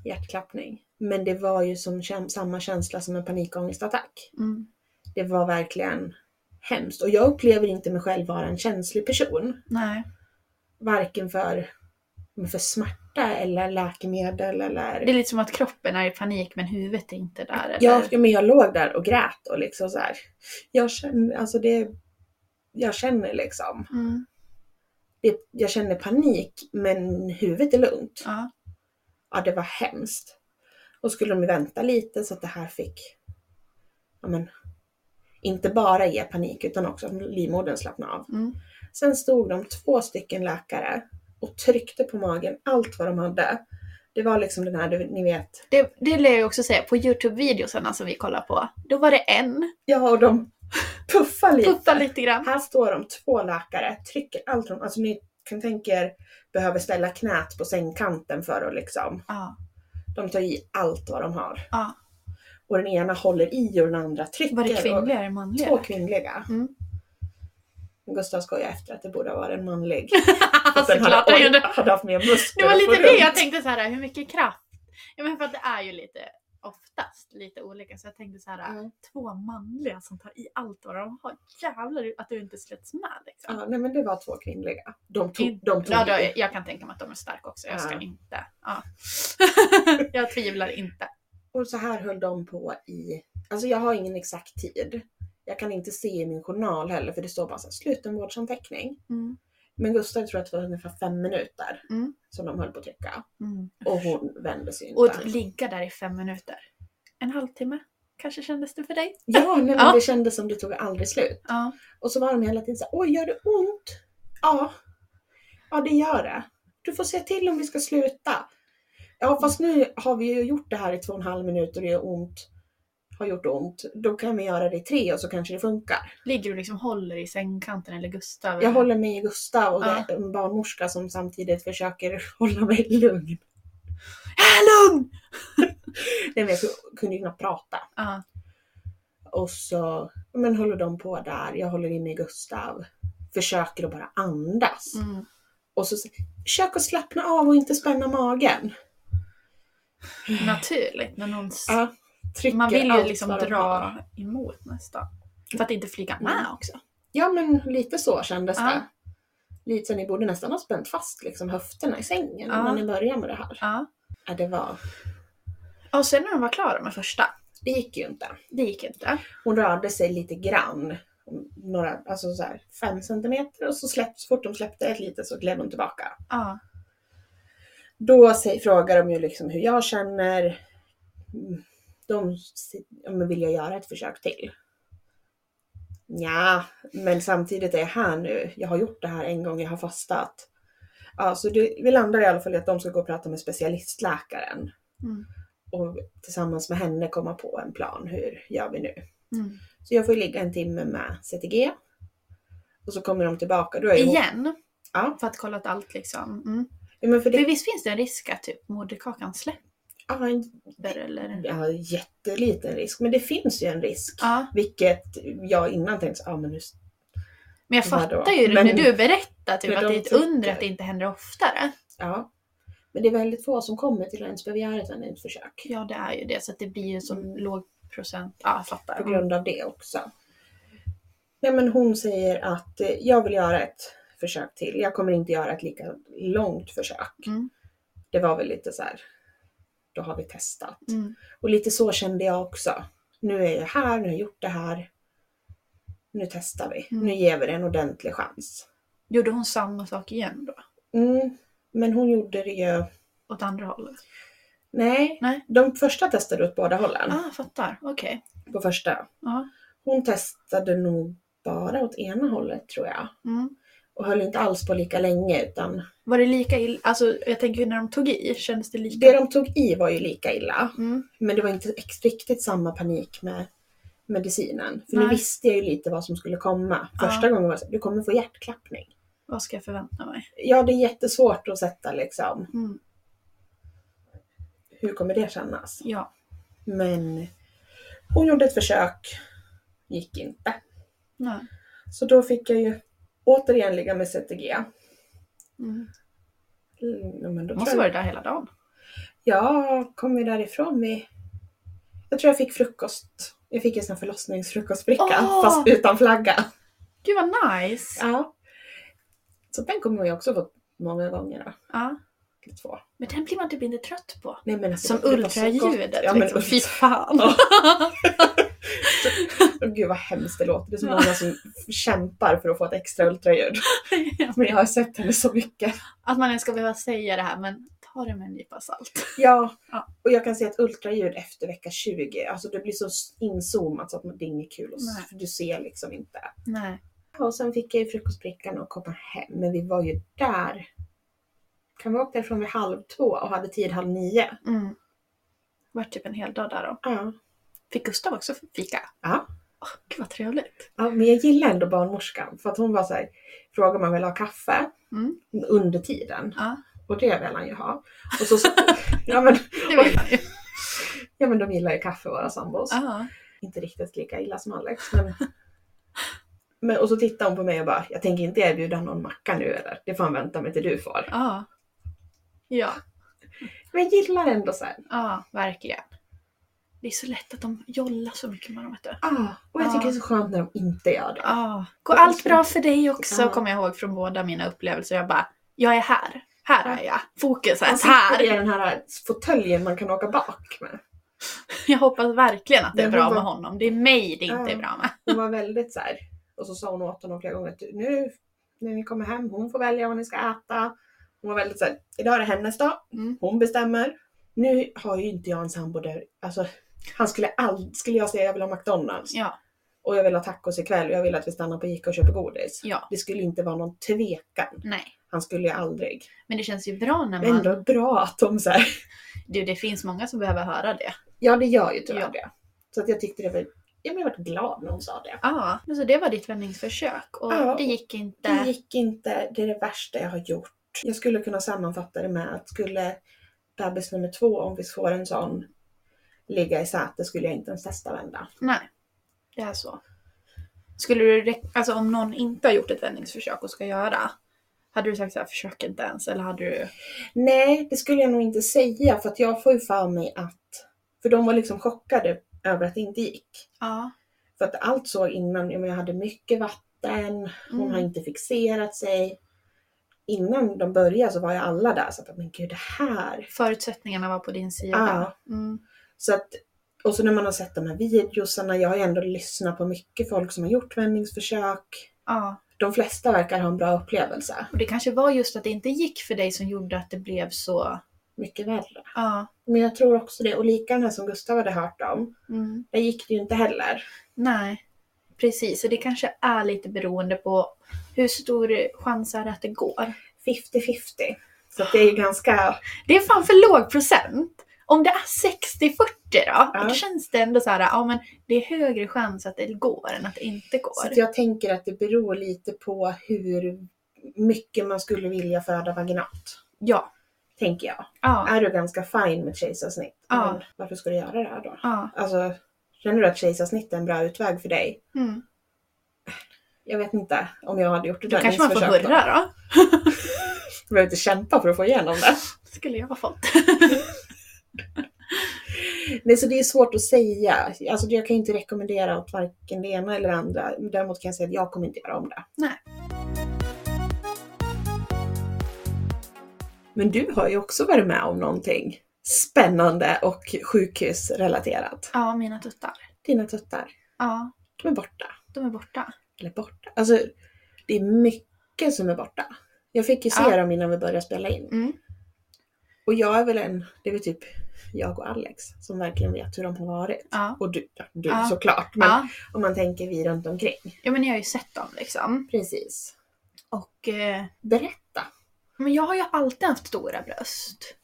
[SPEAKER 1] Hjärtklappning. Men det var ju som käm- samma känsla som en panikångestattack.
[SPEAKER 2] Mm.
[SPEAKER 1] Det var verkligen hemskt. Och jag upplever inte mig själv vara en känslig person.
[SPEAKER 2] Nej.
[SPEAKER 1] Varken för, för smärta eller läkemedel eller...
[SPEAKER 2] Det är lite som att kroppen är i panik men huvudet är inte där. Eller?
[SPEAKER 1] Ja, ja, men jag låg där och grät och liksom så här. Jag känner, alltså det... Jag känner liksom.
[SPEAKER 2] Mm.
[SPEAKER 1] Det, jag känner panik men huvudet är lugnt.
[SPEAKER 2] ja.
[SPEAKER 1] Ja, det var hemskt. Och skulle de ju vänta lite så att det här fick, ja men, inte bara ge panik utan också att livmodern slappnade av.
[SPEAKER 2] Mm.
[SPEAKER 1] Sen stod de två stycken läkare och tryckte på magen allt vad de hade. Det var liksom den här, du- ni vet,
[SPEAKER 2] Det, det vill jag ju också säga, på Youtube-videosarna som vi kollar på, då var det en,
[SPEAKER 1] ja och de puffar lite.
[SPEAKER 2] putta lite grann.
[SPEAKER 1] Här står de två läkare, trycker allt de, alltså ni kan tänka er, behöver ställa knät på sängkanten för att liksom,
[SPEAKER 2] Ja,
[SPEAKER 1] de tar i allt vad de har.
[SPEAKER 2] ja.
[SPEAKER 1] Och den ena håller i och den andra trycker.
[SPEAKER 2] Var det
[SPEAKER 1] och-
[SPEAKER 2] kvinnliga eller manliga?
[SPEAKER 1] Två kvinnliga.
[SPEAKER 2] Mm.
[SPEAKER 1] Gustav skojar efter att det borde ha varit en manlig.
[SPEAKER 2] Alltså,
[SPEAKER 1] Den
[SPEAKER 2] klart
[SPEAKER 1] hade,
[SPEAKER 2] jag
[SPEAKER 1] oj,
[SPEAKER 2] gjorde.
[SPEAKER 1] hade haft mer muskler.
[SPEAKER 2] Det var
[SPEAKER 1] att få
[SPEAKER 2] lite det
[SPEAKER 1] runt.
[SPEAKER 2] jag tänkte så här, hur mycket kraft? Ja men för att det är ju lite oftast lite olika så jag tänkte så här,
[SPEAKER 1] Mm.
[SPEAKER 2] två manliga som tar i allt vad de har. Jävlar att du inte släpps med liksom.
[SPEAKER 1] Ja, nej men det var två kvinnliga. De tog,
[SPEAKER 2] In-
[SPEAKER 1] de tog
[SPEAKER 2] ja, då,
[SPEAKER 1] i.
[SPEAKER 2] jag kan tänka mig att de är starka också. Jag ska
[SPEAKER 1] Ja.
[SPEAKER 2] inte. Ja. jag tvivlar inte.
[SPEAKER 1] Och så här höll de på i, alltså jag har ingen exakt tid. Jag kan inte se i min journal heller för det står bara så här, slutenvårdsanteckning.
[SPEAKER 2] Mm.
[SPEAKER 1] Men Gustav tror att det var ungefär fem minuter
[SPEAKER 2] Mm.
[SPEAKER 1] som de höll på att trycka.
[SPEAKER 2] Mm.
[SPEAKER 1] Och hon vände sig inte.
[SPEAKER 2] Och att ligga där i fem minuter. En halvtimme kanske kändes det för dig?
[SPEAKER 1] Ja, nej, men
[SPEAKER 2] Ja.
[SPEAKER 1] det kändes som det tog aldrig slut.
[SPEAKER 2] Ja.
[SPEAKER 1] Och så var de hela tiden såhär, oj gör det ont? Ja. Ja det gör det. Du får se till om vi ska sluta. Ja fast nu har vi ju gjort det här i två och en halv minut och det gör ont. Har gjort ont. Då kan vi göra det i tre och så kanske det funkar.
[SPEAKER 2] Ligger du liksom håller i sängkanten eller Gustav?
[SPEAKER 1] Jag håller mig i Gustav och
[SPEAKER 2] Ja.
[SPEAKER 1] det är en barnmorska som samtidigt försöker hålla mig lugn.
[SPEAKER 2] Äh, lugn!
[SPEAKER 1] Nej men jag ku- kunde ju knappt prata.
[SPEAKER 2] Ja.
[SPEAKER 1] Och så men håller de på där, jag håller i mig i Gustav. Försöker att bara andas.
[SPEAKER 2] Mm.
[SPEAKER 1] Och så s- försök att slappna av och inte spänna magen.
[SPEAKER 2] Naturligt när någon s-
[SPEAKER 1] Ja, trycker
[SPEAKER 2] Man vill ju
[SPEAKER 1] allt Mm.
[SPEAKER 2] liksom
[SPEAKER 1] vad de
[SPEAKER 2] dra
[SPEAKER 1] har.
[SPEAKER 2] emot nästan. För att inte flyga med
[SPEAKER 1] Mm.
[SPEAKER 2] också.
[SPEAKER 1] Ja men lite så kändes
[SPEAKER 2] Ja.
[SPEAKER 1] det. Lite så ni borde nästan ha spänt fast liksom höfterna i sängen
[SPEAKER 2] Ja.
[SPEAKER 1] innan ni började med det här.
[SPEAKER 2] Ja.
[SPEAKER 1] Ja, det var...
[SPEAKER 2] Och sen när de var klara med första,
[SPEAKER 1] Det gick ju inte.
[SPEAKER 2] det gick inte.
[SPEAKER 1] Hon rörde sig lite grann. Några, alltså så här, fem centimeter och så, släpp, så fort de släppte ett litet så gled hon tillbaka.
[SPEAKER 2] Ja.
[SPEAKER 1] Då säger, frågar de ju liksom hur jag känner. Mm, De si- ja, men vill jag göra ett försök till? Ja, men samtidigt är jag här nu. Jag har gjort det här en gång, jag har fastat. Ja, så det, vi landar i alla fall i att de ska gå och prata med specialistläkaren
[SPEAKER 2] Mm.
[SPEAKER 1] och tillsammans med henne komma på en plan. Hur gör vi nu?
[SPEAKER 2] Mm.
[SPEAKER 1] Så jag får ju ligga en timme med CTG. Och så kommer de tillbaka. Då är ju hon-
[SPEAKER 2] Igen,
[SPEAKER 1] Ja,
[SPEAKER 2] för att kolla att allt liksom... Mm.
[SPEAKER 1] ja, men för
[SPEAKER 2] För
[SPEAKER 1] det...
[SPEAKER 2] visst finns det en risk att typ moderkakan släpper
[SPEAKER 1] Ja, en
[SPEAKER 2] eller?
[SPEAKER 1] ja, jätteliten risk. Men det finns ju en risk.
[SPEAKER 2] Ja.
[SPEAKER 1] Vilket jag innan tänkte, ja ah, men nu...
[SPEAKER 2] Men jag
[SPEAKER 1] Vadå?
[SPEAKER 2] fattar ju det
[SPEAKER 1] Men-
[SPEAKER 2] när du berättar typ
[SPEAKER 1] Men
[SPEAKER 2] att
[SPEAKER 1] de
[SPEAKER 2] det är ett
[SPEAKER 1] tycker-
[SPEAKER 2] under att det inte händer oftare.
[SPEAKER 1] Ja. Men det är väldigt få som kommer till ens begär ett annat försök.
[SPEAKER 2] Ja det är ju det, så att det blir ju så låg procent. Ja jag fattar.
[SPEAKER 1] Mm. På grund av det också. Nej men hon säger att eh, jag vill göra ett försök till. Jag kommer inte göra ett lika långt försök.
[SPEAKER 2] Mm.
[SPEAKER 1] Det var väl lite så här. Då har vi testat.
[SPEAKER 2] Mm.
[SPEAKER 1] Och lite så kände jag också. Nu är jag här, nu har jag gjort det här. Nu testar vi.
[SPEAKER 2] Mm.
[SPEAKER 1] Nu ger vi det en ordentlig chans.
[SPEAKER 2] Gjorde hon samma sak igen då?
[SPEAKER 1] Mm, men hon gjorde det ju...
[SPEAKER 2] Åt andra hållet?
[SPEAKER 1] Nej.
[SPEAKER 2] Nej.
[SPEAKER 1] De första testade åt båda hållen.
[SPEAKER 2] Ah, jag fattar. Okej.
[SPEAKER 1] På första.
[SPEAKER 2] Ja.
[SPEAKER 1] Hon testade nog bara åt ena hållet tror jag.
[SPEAKER 2] Mm.
[SPEAKER 1] Och höll inte alls på lika länge utan
[SPEAKER 2] Var det lika illa? Alltså jag tänker ju när de tog i, kändes det lika?
[SPEAKER 1] det de tog i var ju lika illa.
[SPEAKER 2] Mm.
[SPEAKER 1] Men det var inte ex- riktigt samma panik med medicinen. För nu
[SPEAKER 2] Nej. Ah.
[SPEAKER 1] visste jag ju lite vad som skulle komma. Första gången var det så, här, du kommer få hjärtklappning.
[SPEAKER 2] Vad ska jag förvänta mig?
[SPEAKER 1] Ja, det är jättesvårt att sätta liksom,
[SPEAKER 2] Mm.
[SPEAKER 1] hur kommer det kännas?
[SPEAKER 2] Ja.
[SPEAKER 1] Men hon gjorde ett försök, gick inte.
[SPEAKER 2] Nej.
[SPEAKER 1] Så då fick jag ju återigen ligga med CTG.
[SPEAKER 2] Mm.
[SPEAKER 1] Mm, men då
[SPEAKER 2] Måste
[SPEAKER 1] tror jag-
[SPEAKER 2] varit där hela dagen.
[SPEAKER 1] Jag kom ju därifrån vid... Jag tror jag fick frukost. Jag fick en sån här förlossningsfrukostbricka,
[SPEAKER 2] Åh!
[SPEAKER 1] fast utan flagga.
[SPEAKER 2] Gud vad nice!
[SPEAKER 1] Ja. Så den kommer jag också fått många gånger då.
[SPEAKER 2] Ja.
[SPEAKER 1] Eller Två.
[SPEAKER 2] Men den blir man typ inte trött på.
[SPEAKER 1] Nej, men alltså,
[SPEAKER 2] Som
[SPEAKER 1] det var så
[SPEAKER 2] ultraljudet.
[SPEAKER 1] gott. Ja, men
[SPEAKER 2] liksom. Fy
[SPEAKER 1] ultra-
[SPEAKER 2] fan.
[SPEAKER 1] Ja. Åh, Gud vad hemskt det låter. Det är så många som kämpar för att få ett extra ultraljud. Men jag har sett henne så mycket.
[SPEAKER 2] Att man ens ska behöva säga det här men ta det med en nypa salt.
[SPEAKER 1] Ja.
[SPEAKER 2] Ja.
[SPEAKER 1] Och jag kan se ett ultraljud efter vecka 20. Alltså det blir så inzoomat så att det är inget kul. Och s-
[SPEAKER 2] Nej.
[SPEAKER 1] för du ser liksom inte.
[SPEAKER 2] Nej.
[SPEAKER 1] Och sen fick jag ju frukostbrickan och komma hem. Men vi var ju där. Kan vi åka därifrån vid halv två och hade tid halv nio?
[SPEAKER 2] Mm. Vart typ en hel dag där då.
[SPEAKER 1] Ja.
[SPEAKER 2] Fick Gustav också fika?
[SPEAKER 1] Ja.
[SPEAKER 2] Åh, gud vad trevligt.
[SPEAKER 1] Ja, men jag gillar ändå barnmorskan för att hon var så här, frågar om man vill ha kaffe
[SPEAKER 2] Mm.
[SPEAKER 1] under tiden.
[SPEAKER 2] Ja.
[SPEAKER 1] Och det vill han ju ha. Och så, ja, men,
[SPEAKER 2] Det vill man ju.
[SPEAKER 1] ja men de gillar ju kaffe våra sambos.
[SPEAKER 2] Ja.
[SPEAKER 1] Inte riktigt lika illa som Alex men... men och så tittar hon på mig och bara, jag tänker inte erbjuda någon macka nu eller? Det får han vänta med till du får.
[SPEAKER 2] Ja. Ja.
[SPEAKER 1] Men jag gillar ändå så här.
[SPEAKER 2] Ja, verkligen. Det är så lätt att de jollar så mycket med dem vet du.
[SPEAKER 1] Ah, och jag tycker
[SPEAKER 2] Ja.
[SPEAKER 1] det är så skönt när de inte gör det.
[SPEAKER 2] Ja. Går allt bra för dig också
[SPEAKER 1] Ja.
[SPEAKER 2] kommer jag ihåg från båda mina upplevelser. Jag bara, jag är här. Här är jag. Fokus är
[SPEAKER 1] Man sitter i
[SPEAKER 2] här.
[SPEAKER 1] den här fåtöljen man kan åka bak med.
[SPEAKER 2] Jag hoppas verkligen att det är
[SPEAKER 1] Men hon
[SPEAKER 2] bra
[SPEAKER 1] var-
[SPEAKER 2] med honom. Det är mig det inte
[SPEAKER 1] Ja.
[SPEAKER 2] är bra med.
[SPEAKER 1] Hon var väldigt så här. Och så sa hon åt honom flera gånger att nu när ni kommer hem, hon får välja vad ni ska äta. Hon var väldigt så här, idag är det hennes dag,
[SPEAKER 2] Mm.
[SPEAKER 1] hon bestämmer. Nu har ju inte jag en sambo där, alltså han skulle aldrig, skulle jag säga jag vill ha McDonalds
[SPEAKER 2] Ja,
[SPEAKER 1] och jag vill ha tacos ikväll och jag vill att vi stannar på Ica och köper godis.
[SPEAKER 2] ja,
[SPEAKER 1] Det skulle inte vara någon tvekan.
[SPEAKER 2] nej.
[SPEAKER 1] Han skulle ju aldrig.
[SPEAKER 2] Men det känns ju bra när
[SPEAKER 1] Men
[SPEAKER 2] man...
[SPEAKER 1] ändå bra att de så här,
[SPEAKER 2] Du, det finns många som behöver höra det.
[SPEAKER 1] ja det gör ju tyvärr
[SPEAKER 2] Ja.
[SPEAKER 1] det. Så att jag tyckte det var, ja men jag vart glad när hon sa det.
[SPEAKER 2] Ja, men så det var ditt vändningsförsök och
[SPEAKER 1] Ja.
[SPEAKER 2] det gick inte.
[SPEAKER 1] Det gick inte. Det är det värsta jag har gjort. Jag skulle kunna sammanfatta det med att skulle bebis nummer två, om vi får en sån, ligga i säte skulle jag inte ens testa vända.
[SPEAKER 2] Nej, det är så. Skulle du rek- alltså om någon inte har gjort ett vändningsförsök och ska göra, hade du sagt så här, försök inte ens, eller hade du...
[SPEAKER 1] Nej, det skulle jag nog inte säga för att jag får ju för mig att... För de var liksom chockade över att det inte gick.
[SPEAKER 2] Ja.
[SPEAKER 1] För att allt såg innan, ja, men jag hade mycket vatten, hon
[SPEAKER 2] Mm.
[SPEAKER 1] har inte fixerat sig. Innan de började så var ju alla där så att men gud det här.
[SPEAKER 2] Förutsättningarna var på din sida.
[SPEAKER 1] Ja.
[SPEAKER 2] Mm.
[SPEAKER 1] Så att, och så när man har sett de här videosarna, jag har ju ändå lyssnat på mycket folk som har gjort vändningsförsök.
[SPEAKER 2] ja.
[SPEAKER 1] De flesta verkar ha en bra upplevelse.
[SPEAKER 2] Och det kanske var just att det inte gick för dig som gjorde att det blev så...
[SPEAKER 1] Mycket värre.
[SPEAKER 2] Ja.
[SPEAKER 1] Men jag tror också det. Och lika den här som Gustav hade hört om,
[SPEAKER 2] Mm.
[SPEAKER 1] där gick det ju inte heller.
[SPEAKER 2] Nej, precis. Så det kanske är lite beroende på hur stor chans är det att det går.
[SPEAKER 1] 50-50. Så att det är ju ganska...
[SPEAKER 2] Det är fan för låg procent. Om det är 60-40 då,
[SPEAKER 1] Ja.
[SPEAKER 2] då känns det ändå så här, ja men det är högre chans att det går än att det
[SPEAKER 1] Så
[SPEAKER 2] inte går.
[SPEAKER 1] att jag tänker att det beror lite på hur mycket man skulle vilja föda vaginalt.
[SPEAKER 2] Ja.
[SPEAKER 1] Tänker jag.
[SPEAKER 2] Ja.
[SPEAKER 1] Är du ganska fin med kejsarsnitt,
[SPEAKER 2] Ja.
[SPEAKER 1] men varför ska du göra det här då?
[SPEAKER 2] Ja.
[SPEAKER 1] Alltså, känner du att kejsarsnitt är en bra utväg för dig?
[SPEAKER 2] Mm.
[SPEAKER 1] Jag vet inte om jag hade gjort det
[SPEAKER 2] Då kanske man får
[SPEAKER 1] försök då.
[SPEAKER 2] hurra då.
[SPEAKER 1] Jag behöver inte kämpa för att få igenom det.
[SPEAKER 2] Skulle jag ha fått.
[SPEAKER 1] Nej, så det är svårt att säga. Alltså, jag kan ju inte rekommendera åt varken det ena eller det andra. Däremot kan jag säga att jag kommer inte göra om det.
[SPEAKER 2] Nej.
[SPEAKER 1] Men du har ju också varit med om någonting spännande och sjukhusrelaterat.
[SPEAKER 2] Ja, mina tuttar.
[SPEAKER 1] Dina tuttar,
[SPEAKER 2] Ja,
[SPEAKER 1] de är borta.
[SPEAKER 2] de är borta.
[SPEAKER 1] Eller borta. Alltså, det är mycket som är borta. Jag fick ju se
[SPEAKER 2] Ja.
[SPEAKER 1] dem innan vi började spela in.
[SPEAKER 2] Mm.
[SPEAKER 1] Och jag är väl en, det är väl typ jag och Alex som verkligen vet hur de har varit.
[SPEAKER 2] Ja.
[SPEAKER 1] Och du, ja, du
[SPEAKER 2] Ja.
[SPEAKER 1] såklart. Men
[SPEAKER 2] Ja.
[SPEAKER 1] om man tänker vi runt omkring.
[SPEAKER 2] ja, men jag har ju sett dem liksom.
[SPEAKER 1] Precis.
[SPEAKER 2] Och eh,
[SPEAKER 1] Berätta.
[SPEAKER 2] Men jag har ju alltid haft stora bröst.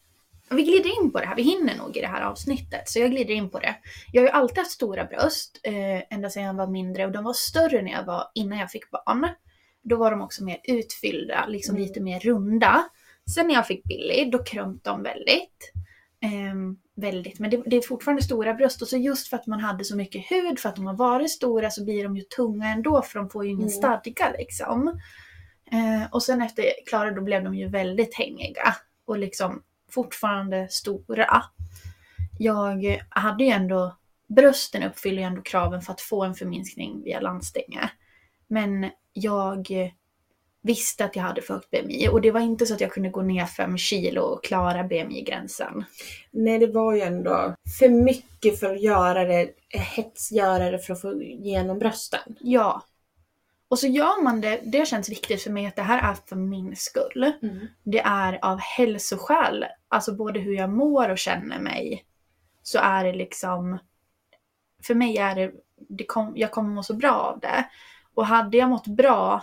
[SPEAKER 2] Vi glider in på det här, vi hinner nog i det här avsnittet, så jag glider in på det. Jag har ju alltid haft stora bröst, eh, ända sedan jag var mindre och de var större när jag var, innan jag fick barn. Då var de också mer utfyllda, liksom
[SPEAKER 1] Mm.
[SPEAKER 2] lite mer runda. Sen när jag fick Billy, då krympte de väldigt. Ehm, väldigt, men det, det är fortfarande stora bröst och så just för att man hade så mycket hud, för att de har varit stora så blir de ju tunga ändå för de får ju ingen Ehm,
[SPEAKER 1] Mm.
[SPEAKER 2] stadga liksom. Eh, och sen efter Klara då blev de ju väldigt hängiga. och liksom fortfarande stora. Jag hade ju ändå, brösten uppfyller ju ändå kraven för att få en förminskning via landstinge. Men jag visste att jag hade för högt BMI och det var inte så att jag kunde gå ner fem kilo och klara BMI-gränsen.
[SPEAKER 1] Nej, det var ju ändå för mycket för att göra det, eh, hetsgöra det för att få igenom brösten.
[SPEAKER 2] Ja. Och så gör man det, det känns viktigt för mig att det här är för min skull. Det är av hälsoskäl, alltså både hur jag mår och känner mig. Så är det liksom, för mig är det, det kom, jag kommer må så bra av det. Och hade jag mått bra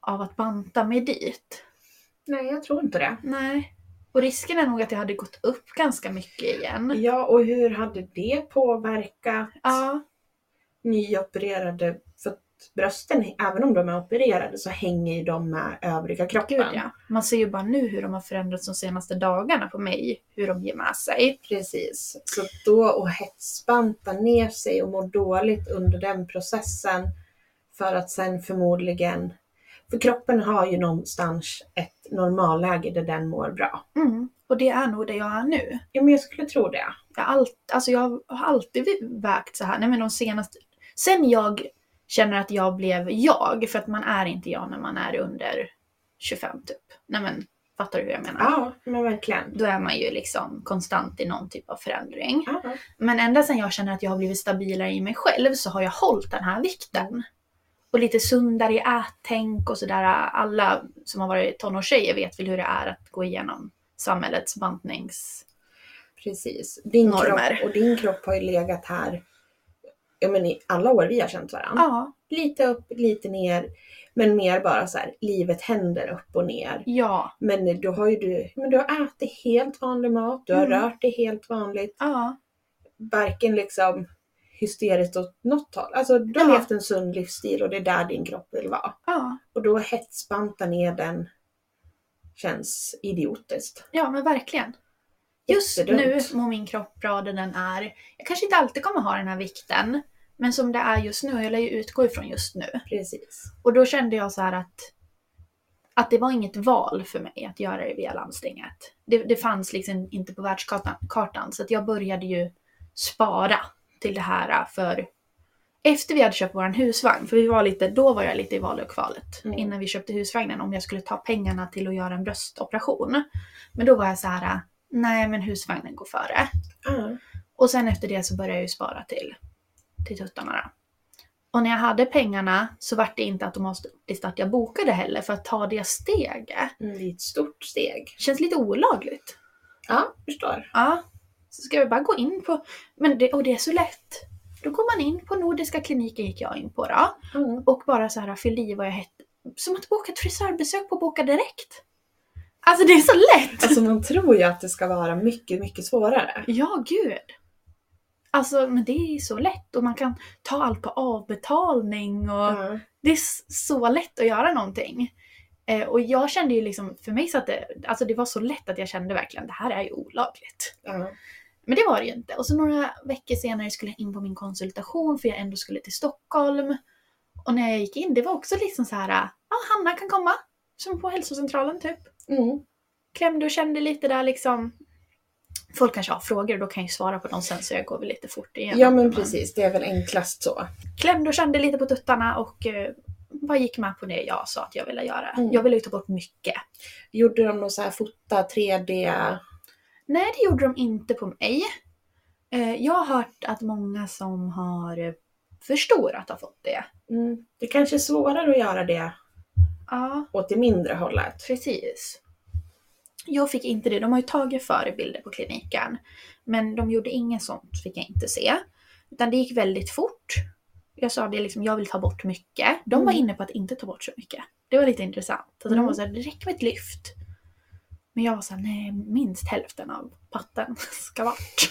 [SPEAKER 2] av att banta mig dit.
[SPEAKER 1] Nej, jag tror inte det.
[SPEAKER 2] Nej. Och risken är nog att jag hade gått upp ganska mycket igen.
[SPEAKER 1] Ja, och hur hade det påverkat
[SPEAKER 2] Ja,
[SPEAKER 1] nyopererade? För att brösten, även om de är opererade, så hänger ju de med övriga kroppen.
[SPEAKER 2] gud ja. Man ser ju bara nu hur de har förändrats de senaste dagarna på mig, hur de ger med sig.
[SPEAKER 1] Precis. Så att då och hetsbanta ner sig och må dåligt under den processen för att sen förmodligen... För kroppen har ju någonstans ett normalläge där den mår bra.
[SPEAKER 2] Mm. Och det är nog det jag är nu.
[SPEAKER 1] Ja, men jag skulle tro det.
[SPEAKER 2] Jag, har allt, alltså jag har alltid vägt så här. Nej, men de senaste... Sen jag känner att jag blev jag, för att man är inte jag när man är under 25 typ. Nej men, fattar du hur jag menar?
[SPEAKER 1] Ja, men verkligen.
[SPEAKER 2] Då är man ju liksom konstant i någon typ av förändring.
[SPEAKER 1] Ja.
[SPEAKER 2] Men ända sedan jag känner att jag har blivit stabilare i mig själv så har jag hållit den här vikten. Och lite sundare i ättänk och sådär. Alla som har varit tonårstjejer vet väl hur det är att gå igenom samhällets bantnings...
[SPEAKER 1] Precis. Din
[SPEAKER 2] Normer.
[SPEAKER 1] kropp, och din kropp har ju legat här ja, men i alla år vi har känt varandra.
[SPEAKER 2] Ja,
[SPEAKER 1] Lite upp, lite ner. Men mer bara så här, livet händer upp och ner.
[SPEAKER 2] ja,
[SPEAKER 1] Men då har ju du, men du har ätit helt vanlig mat, du har
[SPEAKER 2] Mm.
[SPEAKER 1] rört dig helt vanligt.
[SPEAKER 2] ja.
[SPEAKER 1] Varken liksom hysteriskt åt något håll. Alltså du har
[SPEAKER 2] Ja.
[SPEAKER 1] levt en sund livsstil och det är där din kropp vill vara.
[SPEAKER 2] Ja,
[SPEAKER 1] Och då hetsbanta ner den känns idiotiskt.
[SPEAKER 2] ja men verkligen. Just nu
[SPEAKER 1] Jättedumt.
[SPEAKER 2] mår min kropp bra där den är. Jag kanske inte alltid kommer ha den här vikten. Men som det är just nu, och jag lär ju utgå ifrån just nu.
[SPEAKER 1] Precis.
[SPEAKER 2] Och då kände jag så här att, att det var inget val för mig att göra det via landstinget. Det, det fanns liksom inte på världskartan. Kartan, så att jag började ju spara till det här för efter vi hade köpt vår husvagn, för vi var lite, då var jag lite i valet och kvalet
[SPEAKER 1] Mm.
[SPEAKER 2] innan vi köpte husvagnen om jag skulle ta pengarna till att göra en bröstoperation. Men då var jag så här, nej men husvagnen går före.
[SPEAKER 1] Ja.
[SPEAKER 2] Och sen efter det så började jag ju spara till, till tuttarna då. Och när jag hade pengarna så var det inte automatiskt att jag bokade heller för att ta det steget.
[SPEAKER 1] Mm, Det är ett stort steg.
[SPEAKER 2] Känns lite olagligt.
[SPEAKER 1] Ja, förstår.
[SPEAKER 2] Ja. Så ska jag bara gå in på... Men det, och det är så lätt. Då går man in på Nordiska kliniken gick jag in på då.
[SPEAKER 1] Mm.
[SPEAKER 2] Och bara så här fyll i vad jag hette. Som att boka ett frisörbesök på Boka Direkt. Alltså det är så lätt!
[SPEAKER 1] Alltså man tror ju att det ska vara mycket, mycket svårare.
[SPEAKER 2] Ja, gud. Alltså, men det är så lätt och man kan ta allt på avbetalning och
[SPEAKER 1] Ja.
[SPEAKER 2] det är s- så lätt att göra någonting. Eh, och jag kände ju liksom, för mig så att det, alltså det var så lätt att jag kände verkligen det här är ju olagligt.
[SPEAKER 1] Ja.
[SPEAKER 2] Men det var det ju inte. Och så några veckor senare skulle jag in på min konsultation för jag ändå skulle till Stockholm. Och när jag gick in, det var också liksom så här, ja ah, Hanna kan komma. Som på hälsocentralen typ
[SPEAKER 1] Mm.
[SPEAKER 2] klämde och kände lite där liksom. folk kanske har frågor och då kan jag ju svara på dem sen så jag går väl lite fort igenom.
[SPEAKER 1] Ja men precis, det är väl enklast så.
[SPEAKER 2] Klämde och kände lite på tuttarna och eh, bara gick med på det jag sa att jag ville göra.
[SPEAKER 1] Mm.
[SPEAKER 2] Jag ville ju ta bort mycket.
[SPEAKER 1] Gjorde de någon så här fota 3D?
[SPEAKER 2] Nej, det gjorde de inte på mig. Eh, jag har hört att många som har eh, förstorat har fått det.
[SPEAKER 1] Mm. Det kanske är svårare att göra det
[SPEAKER 2] Ja,
[SPEAKER 1] åt det mindre hållet.
[SPEAKER 2] precis. Jag fick inte det. De har ju tagit förebilder på kliniken. Men de gjorde inget sånt, fick jag inte se. Utan det gick väldigt fort. Jag sa det liksom, jag vill ta bort mycket. De var
[SPEAKER 1] Mm.
[SPEAKER 2] inne på att inte ta bort så mycket. Det var lite intressant. Alltså
[SPEAKER 1] Mm.
[SPEAKER 2] de var såhär, det räcker med ett lyft. Men jag var såhär, nej minst hälften av patten ska bort.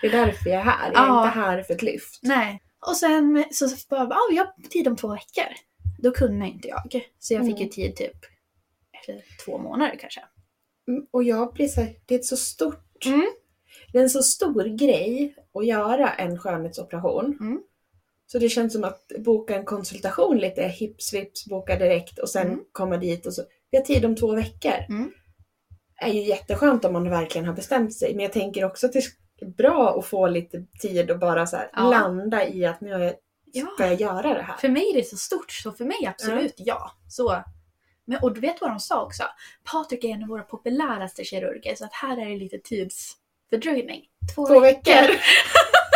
[SPEAKER 1] Det är därför jag är här. Jag är
[SPEAKER 2] Ja.
[SPEAKER 1] inte här för ett lyft.
[SPEAKER 2] Nej. Och sen så så bara, ja, jag har tid om två veckor. Då kunde inte jag. Så jag fick
[SPEAKER 1] Mm.
[SPEAKER 2] ju tid typ efter två månader kanske.
[SPEAKER 1] Mm, Och jag blir så här, det är ett så stort,
[SPEAKER 2] Mm.
[SPEAKER 1] det är en så stor grej att göra en skönhetsoperation.
[SPEAKER 2] Mm.
[SPEAKER 1] Så det känns som att boka en konsultation lite hips vips, boka direkt och sen
[SPEAKER 2] Mm.
[SPEAKER 1] komma dit och så, vi har tid om två veckor.
[SPEAKER 2] Mm.
[SPEAKER 1] är ju jätteskönt om man verkligen har bestämt sig. Men jag tänker också att det är bra att få lite tid och bara så här,
[SPEAKER 2] Ja.
[SPEAKER 1] landa i att nu har jag,
[SPEAKER 2] Ja.
[SPEAKER 1] ska jag göra det här.
[SPEAKER 2] För mig är det så stort, så för mig absolut ja. Så. Men, och du vet vad de sa också? Patrik är en av våra populäraste kirurger så att här är det lite tidsfördröjning. Två,
[SPEAKER 1] Två veckor.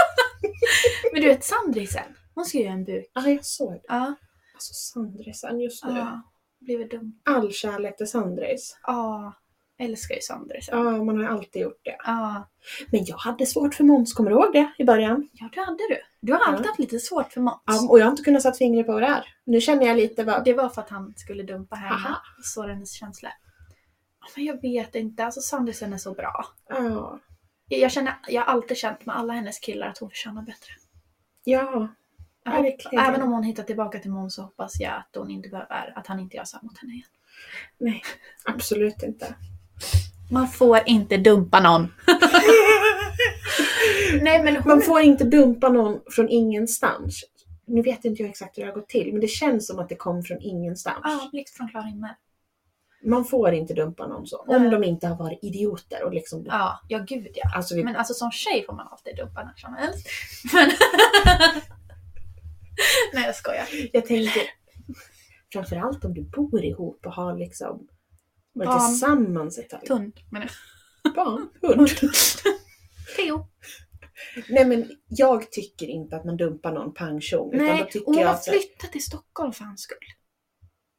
[SPEAKER 2] Men du vet Sandrisen, hon ska göra en buk.
[SPEAKER 1] Ja, jag såg det.
[SPEAKER 2] Ja.
[SPEAKER 1] Alltså Sandrisen just nu.
[SPEAKER 2] ja. Blev det dumt?
[SPEAKER 1] All kärlek till Sandris.
[SPEAKER 2] Ja. Älskar ju Sandrisen.
[SPEAKER 1] Ja, man har ju alltid gjort det.
[SPEAKER 2] ja.
[SPEAKER 1] Men jag hade svårt för Måns, kommer du ihåg det? I början.
[SPEAKER 2] Ja, det hade du. Du har alltid
[SPEAKER 1] Ja.
[SPEAKER 2] haft lite svårt för Mats.
[SPEAKER 1] Ja, och jag har inte kunnat sätta fingret på vad det är. Nu känner jag lite bara...
[SPEAKER 2] Det var för att han skulle dumpa henne
[SPEAKER 1] Aha.
[SPEAKER 2] och såra hennes känsla. Ja, Men jag vet inte, alltså Sandersen är så bra.
[SPEAKER 1] Ja.
[SPEAKER 2] Jag, jag, känner, jag har alltid känt med alla hennes killar att hon förtjänar bättre.
[SPEAKER 1] Ja.
[SPEAKER 2] Jag hopp-
[SPEAKER 1] Verkligen.
[SPEAKER 2] Även om hon hittar tillbaka till Måns så hoppas jag att, hon inte behöver, att han inte gör så här mot henne igen.
[SPEAKER 1] Nej, absolut inte.
[SPEAKER 2] Man får inte dumpa någon. Nej men hon...
[SPEAKER 1] Man får inte dumpa någon från ingenstans. Nu vet inte jag exakt hur det har gått till, men det känns som att det kom från ingenstans.
[SPEAKER 2] Ja, blixt från klar himmel.
[SPEAKER 1] Man får inte dumpa någon så. Om
[SPEAKER 2] Nej.
[SPEAKER 1] de inte har varit idioter och liksom...
[SPEAKER 2] Ja, ja gud ja.
[SPEAKER 1] Alltså vi...
[SPEAKER 2] Men alltså som tjej får man alltid dumpa när som helst. Men... Nej jag skojar.
[SPEAKER 1] Jag tänker... Framförallt om du bor ihop och har liksom... Varit
[SPEAKER 2] Barn.
[SPEAKER 1] tillsammans ett tag.
[SPEAKER 2] Tunn men
[SPEAKER 1] Barn. Hund.
[SPEAKER 2] Theo.
[SPEAKER 1] Nej men jag tycker inte att man dumpar någon pang tjong. Utan då
[SPEAKER 2] Nej,
[SPEAKER 1] tycker
[SPEAKER 2] och hon
[SPEAKER 1] jag
[SPEAKER 2] har
[SPEAKER 1] att... så här,
[SPEAKER 2] flyttat till Stockholm för hans skull.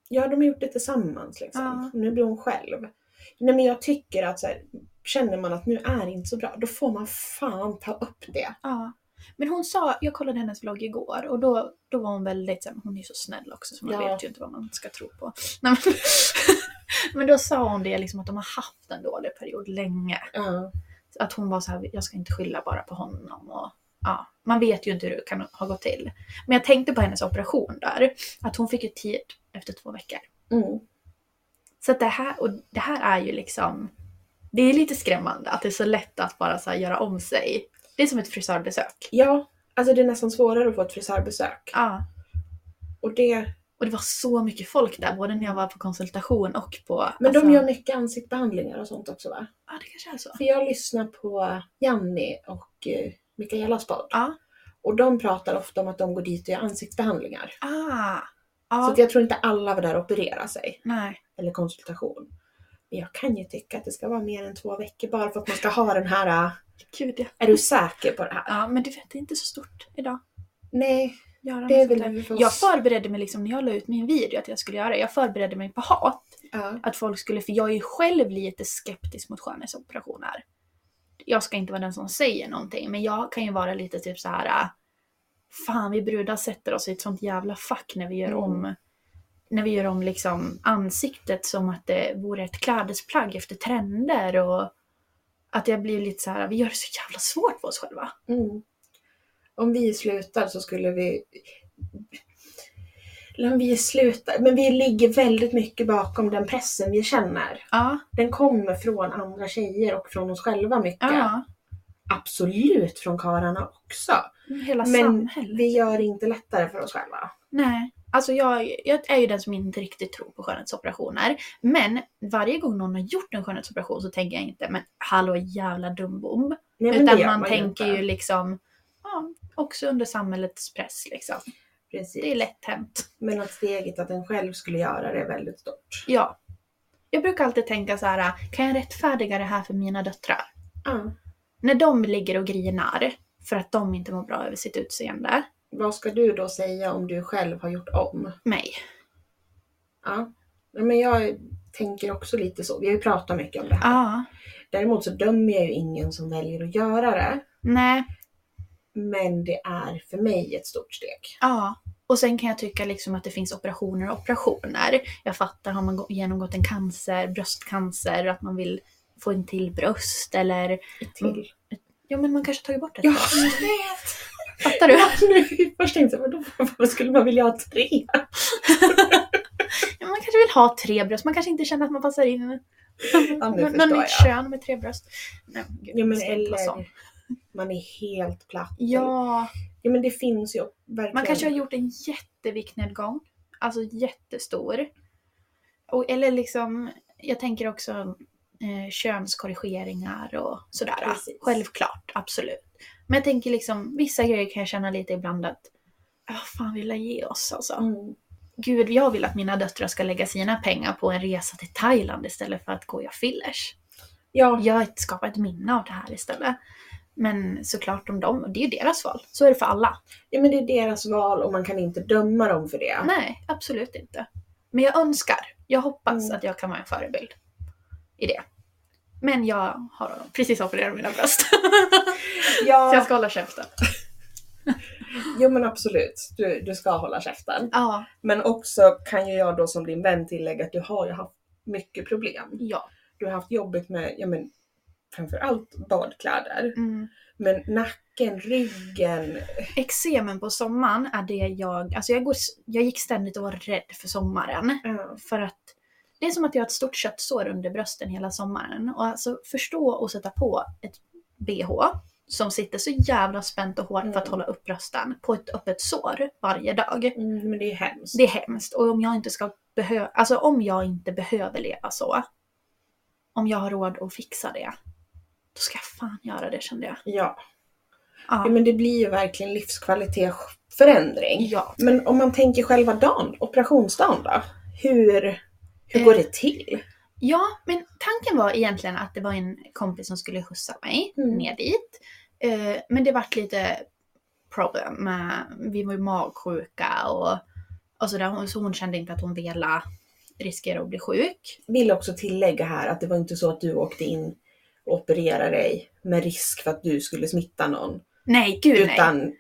[SPEAKER 1] Ja, de har gjort det tillsammans liksom.
[SPEAKER 2] Ja.
[SPEAKER 1] Nu blir hon själv. Nej men jag tycker att så här, känner man att nu är det inte så bra, då får man fan ta upp det.
[SPEAKER 2] Ja. Men hon sa, jag kollade hennes vlogg igår och då, då var hon väldigt såhär, men hon är ju så snäll också så man
[SPEAKER 1] Ja.
[SPEAKER 2] vet ju inte vad man ska tro på. Nej, men, men då sa hon det liksom att de har haft en dålig period länge.
[SPEAKER 1] Ja.
[SPEAKER 2] Att hon var så här, jag ska inte skylla bara på honom och ja, man vet ju inte hur det kan ha gått till. Men jag tänkte på hennes operation där, att hon fick ju tid efter två veckor.
[SPEAKER 1] Mm.
[SPEAKER 2] Så att det här, och det här är ju liksom, det är lite skrämmande att det är så lätt att bara så här göra om sig. Det är som ett frisörbesök.
[SPEAKER 1] ja, alltså det är nästan svårare att få ett frisörbesök.
[SPEAKER 2] Ja.
[SPEAKER 1] Och det,
[SPEAKER 2] Och det var så mycket folk där, både när jag var på konsultation och på...
[SPEAKER 1] men
[SPEAKER 2] alltså,
[SPEAKER 1] de gör mycket ansiktsbehandlingar och sånt också va?
[SPEAKER 2] Ja, det kanske är så.
[SPEAKER 1] För jag lyssnar på Janni och eh, Mikaelas podd.
[SPEAKER 2] Ja.
[SPEAKER 1] Och de pratar ofta om att de går dit och gör ansiktsbehandlingar.
[SPEAKER 2] Ah.
[SPEAKER 1] Så
[SPEAKER 2] Ja.
[SPEAKER 1] att jag tror inte alla var där och opererade sig.
[SPEAKER 2] Nej.
[SPEAKER 1] eller konsultation. Men jag kan ju tycka att det ska vara mer än två veckor bara för att man ska ha den här, äh,
[SPEAKER 2] Gud ja.
[SPEAKER 1] är du säker på det här?
[SPEAKER 2] Ja, men du vet, det är inte så stort idag.
[SPEAKER 1] Nej,
[SPEAKER 2] Göra
[SPEAKER 1] det är
[SPEAKER 2] något
[SPEAKER 1] väl
[SPEAKER 2] sånt där.
[SPEAKER 1] vi får-
[SPEAKER 2] Jag förberedde mig liksom, när jag la ut min video att jag skulle göra det, jag förberedde mig på hat.
[SPEAKER 1] ja.
[SPEAKER 2] att folk skulle, för jag är ju själv lite skeptisk mot skönhetsoperationer. Jag ska inte vara den som säger någonting, men jag kan ju vara lite typ så här. äh, Fan, vi brudar sätter oss i ett sånt jävla fack när vi gör
[SPEAKER 1] Mm.
[SPEAKER 2] om när vi gör om liksom ansiktet som att det vore ett klädesplagg efter trender och att jag blir lite så här. vi gör det så jävla svårt för oss själva.
[SPEAKER 1] Mm. Om vi slutar så skulle vi... Eller om vi slutar, men vi ligger väldigt mycket bakom den pressen vi känner.
[SPEAKER 2] Ja,
[SPEAKER 1] Den kommer från andra tjejer och från oss själva mycket.
[SPEAKER 2] ja.
[SPEAKER 1] Absolut från karlarna också.
[SPEAKER 2] Hela
[SPEAKER 1] Men
[SPEAKER 2] samhället.
[SPEAKER 1] vi gör det inte lättare för oss själva.
[SPEAKER 2] Nej, Alltså jag, jag är ju den som inte riktigt tror på skönhetsoperationer. Men varje gång någon har gjort en skönhetsoperation så tänker jag inte, men hallå jävla dumbom.
[SPEAKER 1] Nej, men det
[SPEAKER 2] Utan
[SPEAKER 1] gör
[SPEAKER 2] man,
[SPEAKER 1] ju
[SPEAKER 2] tänker
[SPEAKER 1] inte.
[SPEAKER 2] ju liksom, ja, också under samhällets press liksom.
[SPEAKER 1] Precis.
[SPEAKER 2] Det är lätt hänt.
[SPEAKER 1] Men att steget att en själv skulle göra det är väldigt stort.
[SPEAKER 2] Ja. Jag brukar alltid tänka så här, kan jag rättfärdiga det här för mina döttrar?
[SPEAKER 1] Ja.
[SPEAKER 2] När de ligger och grinar för att de inte mår bra över sitt utseende.
[SPEAKER 1] Vad ska du då säga om du själv har gjort om?
[SPEAKER 2] Mig.
[SPEAKER 1] Ja. Nej, Men jag tänker också lite så. Vi har ju pratat mycket om det här.
[SPEAKER 2] Ja.
[SPEAKER 1] Däremot så dömer jag ju ingen som väljer att göra det.
[SPEAKER 2] Nej.
[SPEAKER 1] Men det är för mig ett stort steg.
[SPEAKER 2] Ja. Och sen kan jag tycka liksom att det finns operationer och operationer. Jag fattar, har man gå- genomgått en cancer, bröstcancer, att man vill få en till bröst eller...
[SPEAKER 1] Till.
[SPEAKER 2] Ja men man kanske tagit bort det.
[SPEAKER 1] Ja, jag vet!
[SPEAKER 2] Fattar du?
[SPEAKER 1] Nu först tänkte jag, vadå, varför skulle man vilja ha tre?
[SPEAKER 2] Ja, man kanske vill ha tre bröst, man kanske inte känner att man passar in.
[SPEAKER 1] nu
[SPEAKER 2] Någon
[SPEAKER 1] förstår
[SPEAKER 2] nytt
[SPEAKER 1] jag.
[SPEAKER 2] kön med tre bröst. Nej, gud,
[SPEAKER 1] Ja,
[SPEAKER 2] det
[SPEAKER 1] men
[SPEAKER 2] ska inte vara sånt.
[SPEAKER 1] eller man är helt platt.
[SPEAKER 2] Ja,
[SPEAKER 1] ja men det finns ju verkligen.
[SPEAKER 2] man kanske har gjort en jätteviktnedgång. Alltså jättestor. Och, eller liksom, jag tänker också eh, könskorrigeringar och sådär.
[SPEAKER 1] Precis.
[SPEAKER 2] Självklart, absolut. Men jag tänker liksom, vissa grejer kan jag känna lite ibland att, ja fan vill jag ge oss alltså.
[SPEAKER 1] Mm.
[SPEAKER 2] Gud, jag vill att mina döttrar ska lägga sina pengar på en resa till Thailand istället för att gå och göra fillers.
[SPEAKER 1] Ja,
[SPEAKER 2] jag skapar ett minne av det här istället. Men såklart om dem, och det är ju deras val. Så är det för alla.
[SPEAKER 1] ja, men det är deras val och man kan inte döma dem för det.
[SPEAKER 2] Nej, absolut inte. Men jag önskar, jag hoppas
[SPEAKER 1] Mm.
[SPEAKER 2] att jag kan vara en förebild i det. Men jag har precis opererat mina bröst. Så jag
[SPEAKER 1] Ja,
[SPEAKER 2] ska hålla käften.
[SPEAKER 1] jo men absolut. Du, du ska hålla käften.
[SPEAKER 2] Ja,
[SPEAKER 1] Men också kan ju jag då som din vän tillägga att du har ju haft mycket problem.
[SPEAKER 2] ja.
[SPEAKER 1] Du har haft jobbigt med, ja men framförallt badkläder.
[SPEAKER 2] Mm.
[SPEAKER 1] Men nacken, ryggen.
[SPEAKER 2] Eksemen på sommaren är det jag, alltså jag, går, jag gick ständigt och var rädd för sommaren.
[SPEAKER 1] Ja.
[SPEAKER 2] För att det är som att jag har ett stort köttsår under brösten hela sommaren. Och alltså förstå och sätta på ett bh som sitter så jävla spänt och hårt för att
[SPEAKER 1] Mm.
[SPEAKER 2] hålla upp brösten på ett öppet sår varje dag.
[SPEAKER 1] Mm, men det är ju hemskt.
[SPEAKER 2] Det är hemskt. Och om jag inte ska behöva, alltså om jag inte behöver leva så. Om jag har råd att fixa det. Då ska jag fan göra det kände jag.
[SPEAKER 1] Ja.
[SPEAKER 2] Ja.
[SPEAKER 1] ja, men det blir ju verkligen livskvalitetsförändring.
[SPEAKER 2] Ja.
[SPEAKER 1] Men om man tänker själva dagen, operationsdagen då? Hur, hur går
[SPEAKER 2] Eh.
[SPEAKER 1] det till?
[SPEAKER 2] Ja, men tanken var egentligen att det var en kompis som skulle skjutsa mig
[SPEAKER 1] Mm.
[SPEAKER 2] ner dit. Eh, men det vart lite problem. med- Vi var ju magsjuka och, och sådär. Hon- Så hon kände inte att hon ville riskera att bli sjuk.
[SPEAKER 1] Vill också tillägga här att det var inte så att du åkte in och opererade dig med risk för att du skulle smitta någon.
[SPEAKER 2] Nej, gud nej.
[SPEAKER 1] Utan,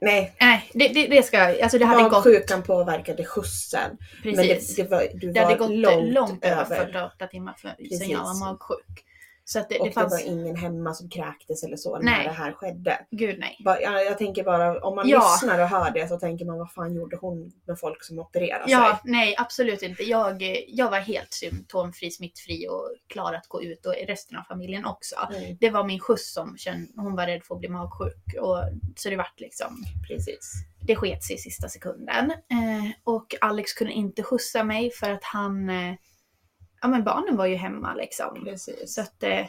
[SPEAKER 1] nej.
[SPEAKER 2] Nej, det, det, det ska jag... Alltså det hade gått...
[SPEAKER 1] Magsjukan påverkade skjusen.
[SPEAKER 2] Precis.
[SPEAKER 1] Men det, det var, du
[SPEAKER 2] det hade
[SPEAKER 1] var
[SPEAKER 2] gått
[SPEAKER 1] långt,
[SPEAKER 2] långt, över
[SPEAKER 1] över.
[SPEAKER 2] 48 timmar för, sen
[SPEAKER 1] Precis.
[SPEAKER 2] jag var magsjuk. Så att det,
[SPEAKER 1] och
[SPEAKER 2] det fanns...
[SPEAKER 1] det var ingen hemma som kräktes eller så
[SPEAKER 2] Nej.
[SPEAKER 1] när det här skedde.
[SPEAKER 2] Gud nej.
[SPEAKER 1] Bara- ja, Jag tänker bara, om man
[SPEAKER 2] Ja.
[SPEAKER 1] lyssnar och hör det så tänker man vad fan gjorde hon med folk som opererar
[SPEAKER 2] Ja,
[SPEAKER 1] sig?
[SPEAKER 2] nej absolut inte. Jag, eh, jag var helt symptomfri, smittfri och klar att gå ut och resten av familjen också.
[SPEAKER 1] Mm,
[SPEAKER 2] Det var min skjuts som kände, hon var rädd för att bli magsjuk. Och, så det vart liksom,
[SPEAKER 1] precis.
[SPEAKER 2] det sket sig i sista sekunden. Eh, och Alex kunde inte skjutsa mig för att han, eh, ja men barnen var ju hemma liksom.
[SPEAKER 1] precis.
[SPEAKER 2] Så att, eh,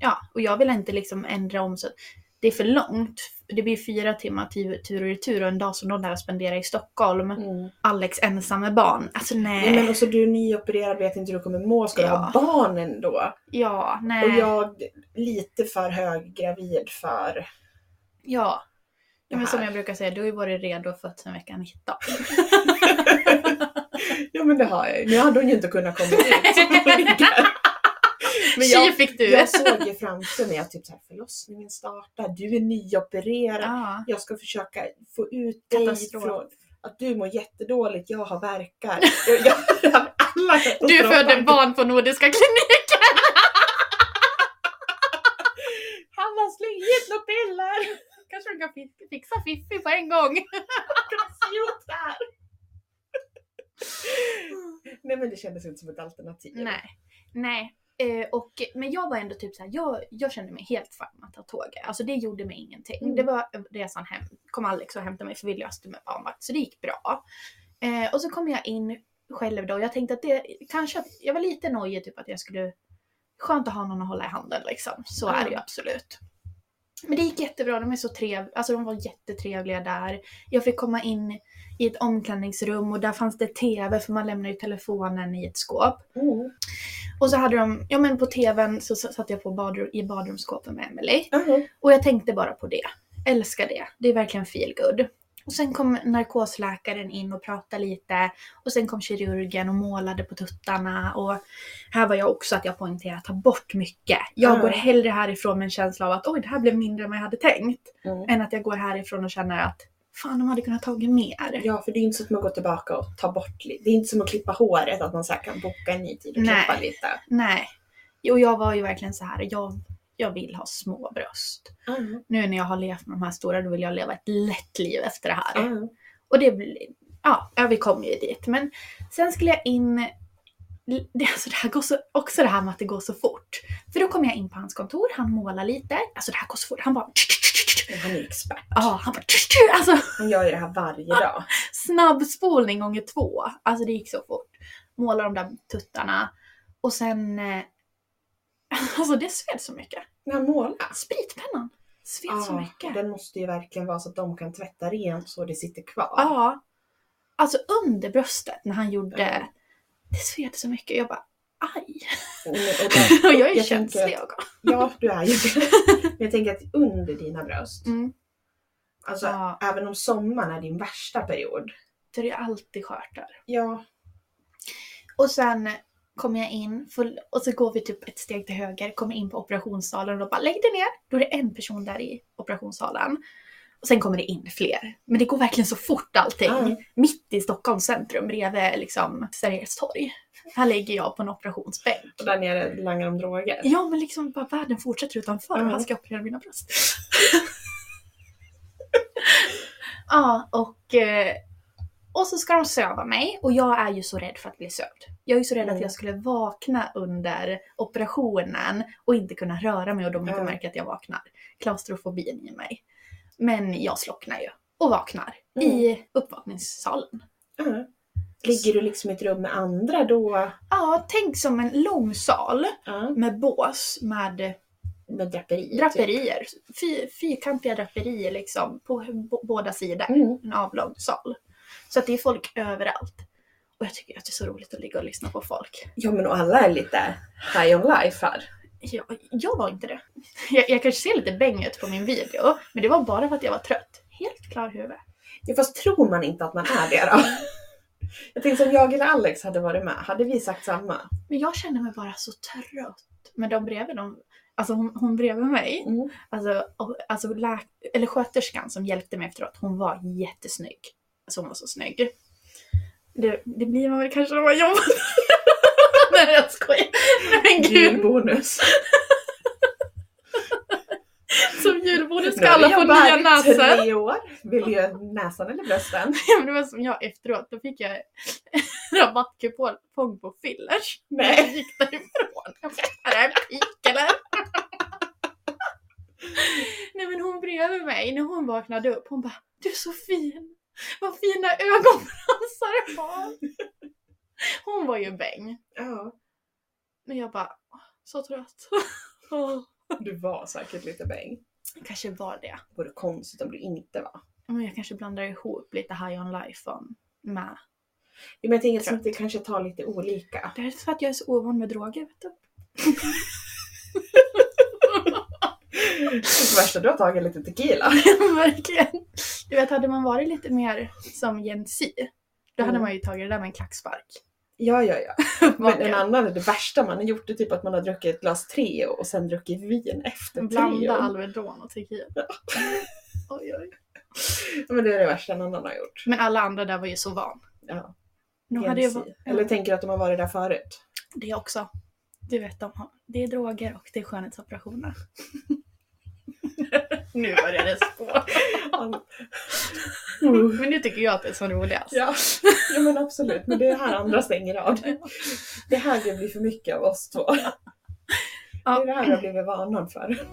[SPEAKER 2] ja, och jag vill inte liksom ändra om så att det är för långt. Det blir fyra timmar till tur och retur och en dag som de där spenderar i Stockholm.
[SPEAKER 1] Mm.
[SPEAKER 2] Alex ensam med barn. Alltså nej.
[SPEAKER 1] Nej, men också du är nyopererad, vet inte hur du kommer må. Ska du
[SPEAKER 2] Ja.
[SPEAKER 1] ha barnen då?
[SPEAKER 2] Ja, nej.
[SPEAKER 1] Och jag lite för hög gravid för...
[SPEAKER 2] Ja. ja men
[SPEAKER 1] Det
[SPEAKER 2] som
[SPEAKER 1] här.
[SPEAKER 2] jag brukar säga, du har ju varit redo och fött sedan veckan 19.
[SPEAKER 1] ja men det har jag ju. Nu hade hon ju inte kunnat komma ut. men
[SPEAKER 2] Tji
[SPEAKER 1] jag,
[SPEAKER 2] fick du!
[SPEAKER 1] jag såg ju framför mig att typ så här, förlossningen startar, du är nyopererad.
[SPEAKER 2] ja.
[SPEAKER 1] jag ska försöka få ut dig
[SPEAKER 2] Katastrof.
[SPEAKER 1] från att du mår jättedåligt, jag har värkar. Jag, jag, jag har alla
[SPEAKER 2] Du födde
[SPEAKER 1] katastroftankar.
[SPEAKER 2] barn på Nordiska kliniken!
[SPEAKER 1] Han har slängt några piller!
[SPEAKER 2] Kanske du kan fi- fixa Fiffi på en gång?
[SPEAKER 1] Idiot där. Nej men det kändes inte som ett alternativ.
[SPEAKER 2] Nej. Nej. Eh, och, men jag var ändå typ såhär, jag, jag kände mig helt fine med att ta tåget. Alltså det gjorde mig ingenting.
[SPEAKER 1] Mm.
[SPEAKER 2] Det var resan hem, kom Alex och hämtade mig för vi löste med barnvakt så det gick bra. Eh, och så kom jag in själv då. Jag tänkte att det kanske, att- jag var lite nojig typ att jag skulle, skönt att ha någon att hålla i handen liksom. Så är det ju absolut. Men det gick jättebra, de är så trevliga, alltså de var jättetrevliga där. Jag fick komma in i ett omklädningsrum och där fanns det TV för man lämnar ju telefonen i ett skåp.
[SPEAKER 1] Mm.
[SPEAKER 2] Och så hade de, ja men på TVn så s- satt jag på badrum, i badrumsskåpet med Emily.
[SPEAKER 1] Aha.
[SPEAKER 2] Och jag tänkte bara på det. Älskar det. Det är verkligen feel good. Och sen kom narkosläkaren in och pratade lite. Och sen kom kirurgen och målade på tuttarna. Och här var jag också att jag poängterade, ta bort mycket. Jag
[SPEAKER 1] Mm.
[SPEAKER 2] går hellre härifrån med en känsla av att oj, det här blev mindre än vad jag hade tänkt.
[SPEAKER 1] Mm.
[SPEAKER 2] Än att jag går härifrån och känner att fan, de hade kunnat tagit mer.
[SPEAKER 1] Ja, för det är inte så att man går tillbaka och tar bort lite. Det är inte som att klippa håret, att man så här kan boka en ny tid och
[SPEAKER 2] Nej.
[SPEAKER 1] klippa lite.
[SPEAKER 2] Nej. Och jag var ju verkligen så här, jag, jag vill ha små bröst.
[SPEAKER 1] Mm.
[SPEAKER 2] Nu när jag har levt med de här stora, då vill jag leva ett lätt liv efter det här.
[SPEAKER 1] Mm.
[SPEAKER 2] Och det blir, ja, ja, vi kom ju dit. Men sen skulle jag in, det, alltså det här går så, också det här med att det går så fort. För då kom jag in på hans kontor, han målar lite, alltså det här går så fort, han bara
[SPEAKER 1] Han är expert.
[SPEAKER 2] Ja, han bara alltså
[SPEAKER 1] Han gör ju det här varje
[SPEAKER 2] Ah.
[SPEAKER 1] dag.
[SPEAKER 2] snabbspolning gånger två. Alltså det gick så fort. Måla de där tuttarna. Och sen, eh, alltså det sved så mycket.
[SPEAKER 1] När han målar.
[SPEAKER 2] Spritpennan sved Ah, så
[SPEAKER 1] Ja,
[SPEAKER 2] mycket.
[SPEAKER 1] Den måste ju verkligen vara så att de kan tvätta rent så det sitter kvar.
[SPEAKER 2] Ja. Alltså under bröstet när han gjorde,
[SPEAKER 1] Mm.
[SPEAKER 2] det sved så mycket. Jag bara, aj.
[SPEAKER 1] Och- och där-
[SPEAKER 2] Och jag är
[SPEAKER 1] Jag
[SPEAKER 2] känslig
[SPEAKER 1] tänker
[SPEAKER 2] jag.
[SPEAKER 1] ja, du är ju det. Men jag tänker att under dina bröst,
[SPEAKER 2] Mm.
[SPEAKER 1] alltså
[SPEAKER 2] Ja.
[SPEAKER 1] även om sommaren är din värsta period.
[SPEAKER 2] Det är ju alltid skört där.
[SPEAKER 1] Ja,
[SPEAKER 2] Och sen kommer jag in full, och så går vi typ ett steg till höger, kommer in på operationssalen och bara lägg dig ner. Då är det en person där i operationssalen. Och sen kommer det in fler. Men det går verkligen så fort allting.
[SPEAKER 1] Mm.
[SPEAKER 2] Mitt i Stockholms centrum bredvid liksom Sergels torg. Här ligger jag på en operationsbänk.
[SPEAKER 1] och där nere langar de droger.
[SPEAKER 2] Ja men liksom bara världen fortsätter utanför
[SPEAKER 1] Ja.
[SPEAKER 2] och han ska operera mina bröst. ja och, eh, och så ska de söva mig och jag är ju så rädd för att bli sövd. Jag är ju så rädd
[SPEAKER 1] Mm.
[SPEAKER 2] att jag skulle vakna under operationen och inte kunna röra mig och de inte
[SPEAKER 1] Mm.
[SPEAKER 2] märker att jag vaknar. Klaustrofobin i mig. Men jag slocknar ju och vaknar
[SPEAKER 1] Mm.
[SPEAKER 2] i uppvakningssalen.
[SPEAKER 1] Mm. Ligger du liksom i ett rum med andra då?
[SPEAKER 2] Ja, tänk som en lång sal
[SPEAKER 1] Ja.
[SPEAKER 2] med bås med
[SPEAKER 1] Med draperi?
[SPEAKER 2] draperier. Fy, fyrkantiga draperier liksom på b- båda sidor.
[SPEAKER 1] Mm.
[SPEAKER 2] En avlång sal. Så att det är folk överallt. Och jag tycker att det är så roligt att ligga och lyssna på folk.
[SPEAKER 1] Ja men och alla är lite high on life här.
[SPEAKER 2] Jag, jag var inte det. Jag, jag kanske ser lite bäng ut på min video, men det var bara för att jag var trött. Helt klar huvud.
[SPEAKER 1] Ja, fast tror man inte att man är det då? Jag tänkte om jag eller Alex hade varit med, hade vi sagt samma?
[SPEAKER 2] Men jag kände mig bara så trött. Men de bredvid, de, alltså hon, hon bredvid mig,
[SPEAKER 1] Mm.
[SPEAKER 2] Alltså, och- alltså lä- eller sköterskan som hjälpte mig efteråt, hon var jättesnygg. Alltså hon var så snygg. Det, det blir man väl kanske när man jobbar Nej jag skojar. Nej men gud.
[SPEAKER 1] Julbonus.
[SPEAKER 2] Som julbordet
[SPEAKER 1] Nu
[SPEAKER 2] ska
[SPEAKER 1] har vi
[SPEAKER 2] alla få
[SPEAKER 1] jobbat
[SPEAKER 2] nya
[SPEAKER 1] i
[SPEAKER 2] näsor.
[SPEAKER 1] tre år. Vill ju näsan eller brösten.
[SPEAKER 2] Ja, men Det var som jag efteråt, då fick jag rabattkupong på fillers.
[SPEAKER 1] Nej.
[SPEAKER 2] Jag gick därifrån. Jag bara, Är det här pik eller? Nej men hon bredvid mig, när hon vaknade upp, hon bara Du är så fin! Vad fina ögonfransar du har! Hon var ju bäng.
[SPEAKER 1] Ja,
[SPEAKER 2] Men jag bara, "Åh, så trött. Åh.
[SPEAKER 1] du var säkert lite bäng.
[SPEAKER 2] Det kanske var det.
[SPEAKER 1] Vore konstigt om du inte var.
[SPEAKER 2] Men jag kanske blandar ihop lite high on life om- med
[SPEAKER 1] Ja, Men jag tänker att det kanske tar lite olika.
[SPEAKER 2] Det är för att jag är så ovan med droger, vet du.
[SPEAKER 1] Det värsta du har tagit lite tequila.
[SPEAKER 2] Verkligen. Du vet, hade man varit lite mer som Gen Z, då hade
[SPEAKER 1] Mm.
[SPEAKER 2] man ju tagit det där med en klackspark.
[SPEAKER 1] Ja, ja, ja. Men en annan är det värsta man har gjort det är typ att man har druckit ett glas Treo och sen druckit vin efter
[SPEAKER 2] Blanda
[SPEAKER 1] Treon.
[SPEAKER 2] Alvedon och tequila. Oj, oj.
[SPEAKER 1] Ja, Men det är det värsta en annan har gjort.
[SPEAKER 2] Men alla andra där var ju så van.
[SPEAKER 1] Ja.
[SPEAKER 2] Nu
[SPEAKER 1] Gen
[SPEAKER 2] hade jag
[SPEAKER 1] Z.
[SPEAKER 2] va-
[SPEAKER 1] Eller tänker att de har varit där förut.
[SPEAKER 2] det också. Du vet, de har, det är droger och det är skönhetsoperationer. nu börjar det spå. Men nu tycker jag att det är som roligast.
[SPEAKER 1] Ja. ja men absolut, men det är här andra stänger av. Det här det blir för mycket av oss två. Det är det här jag har blivit varnad för.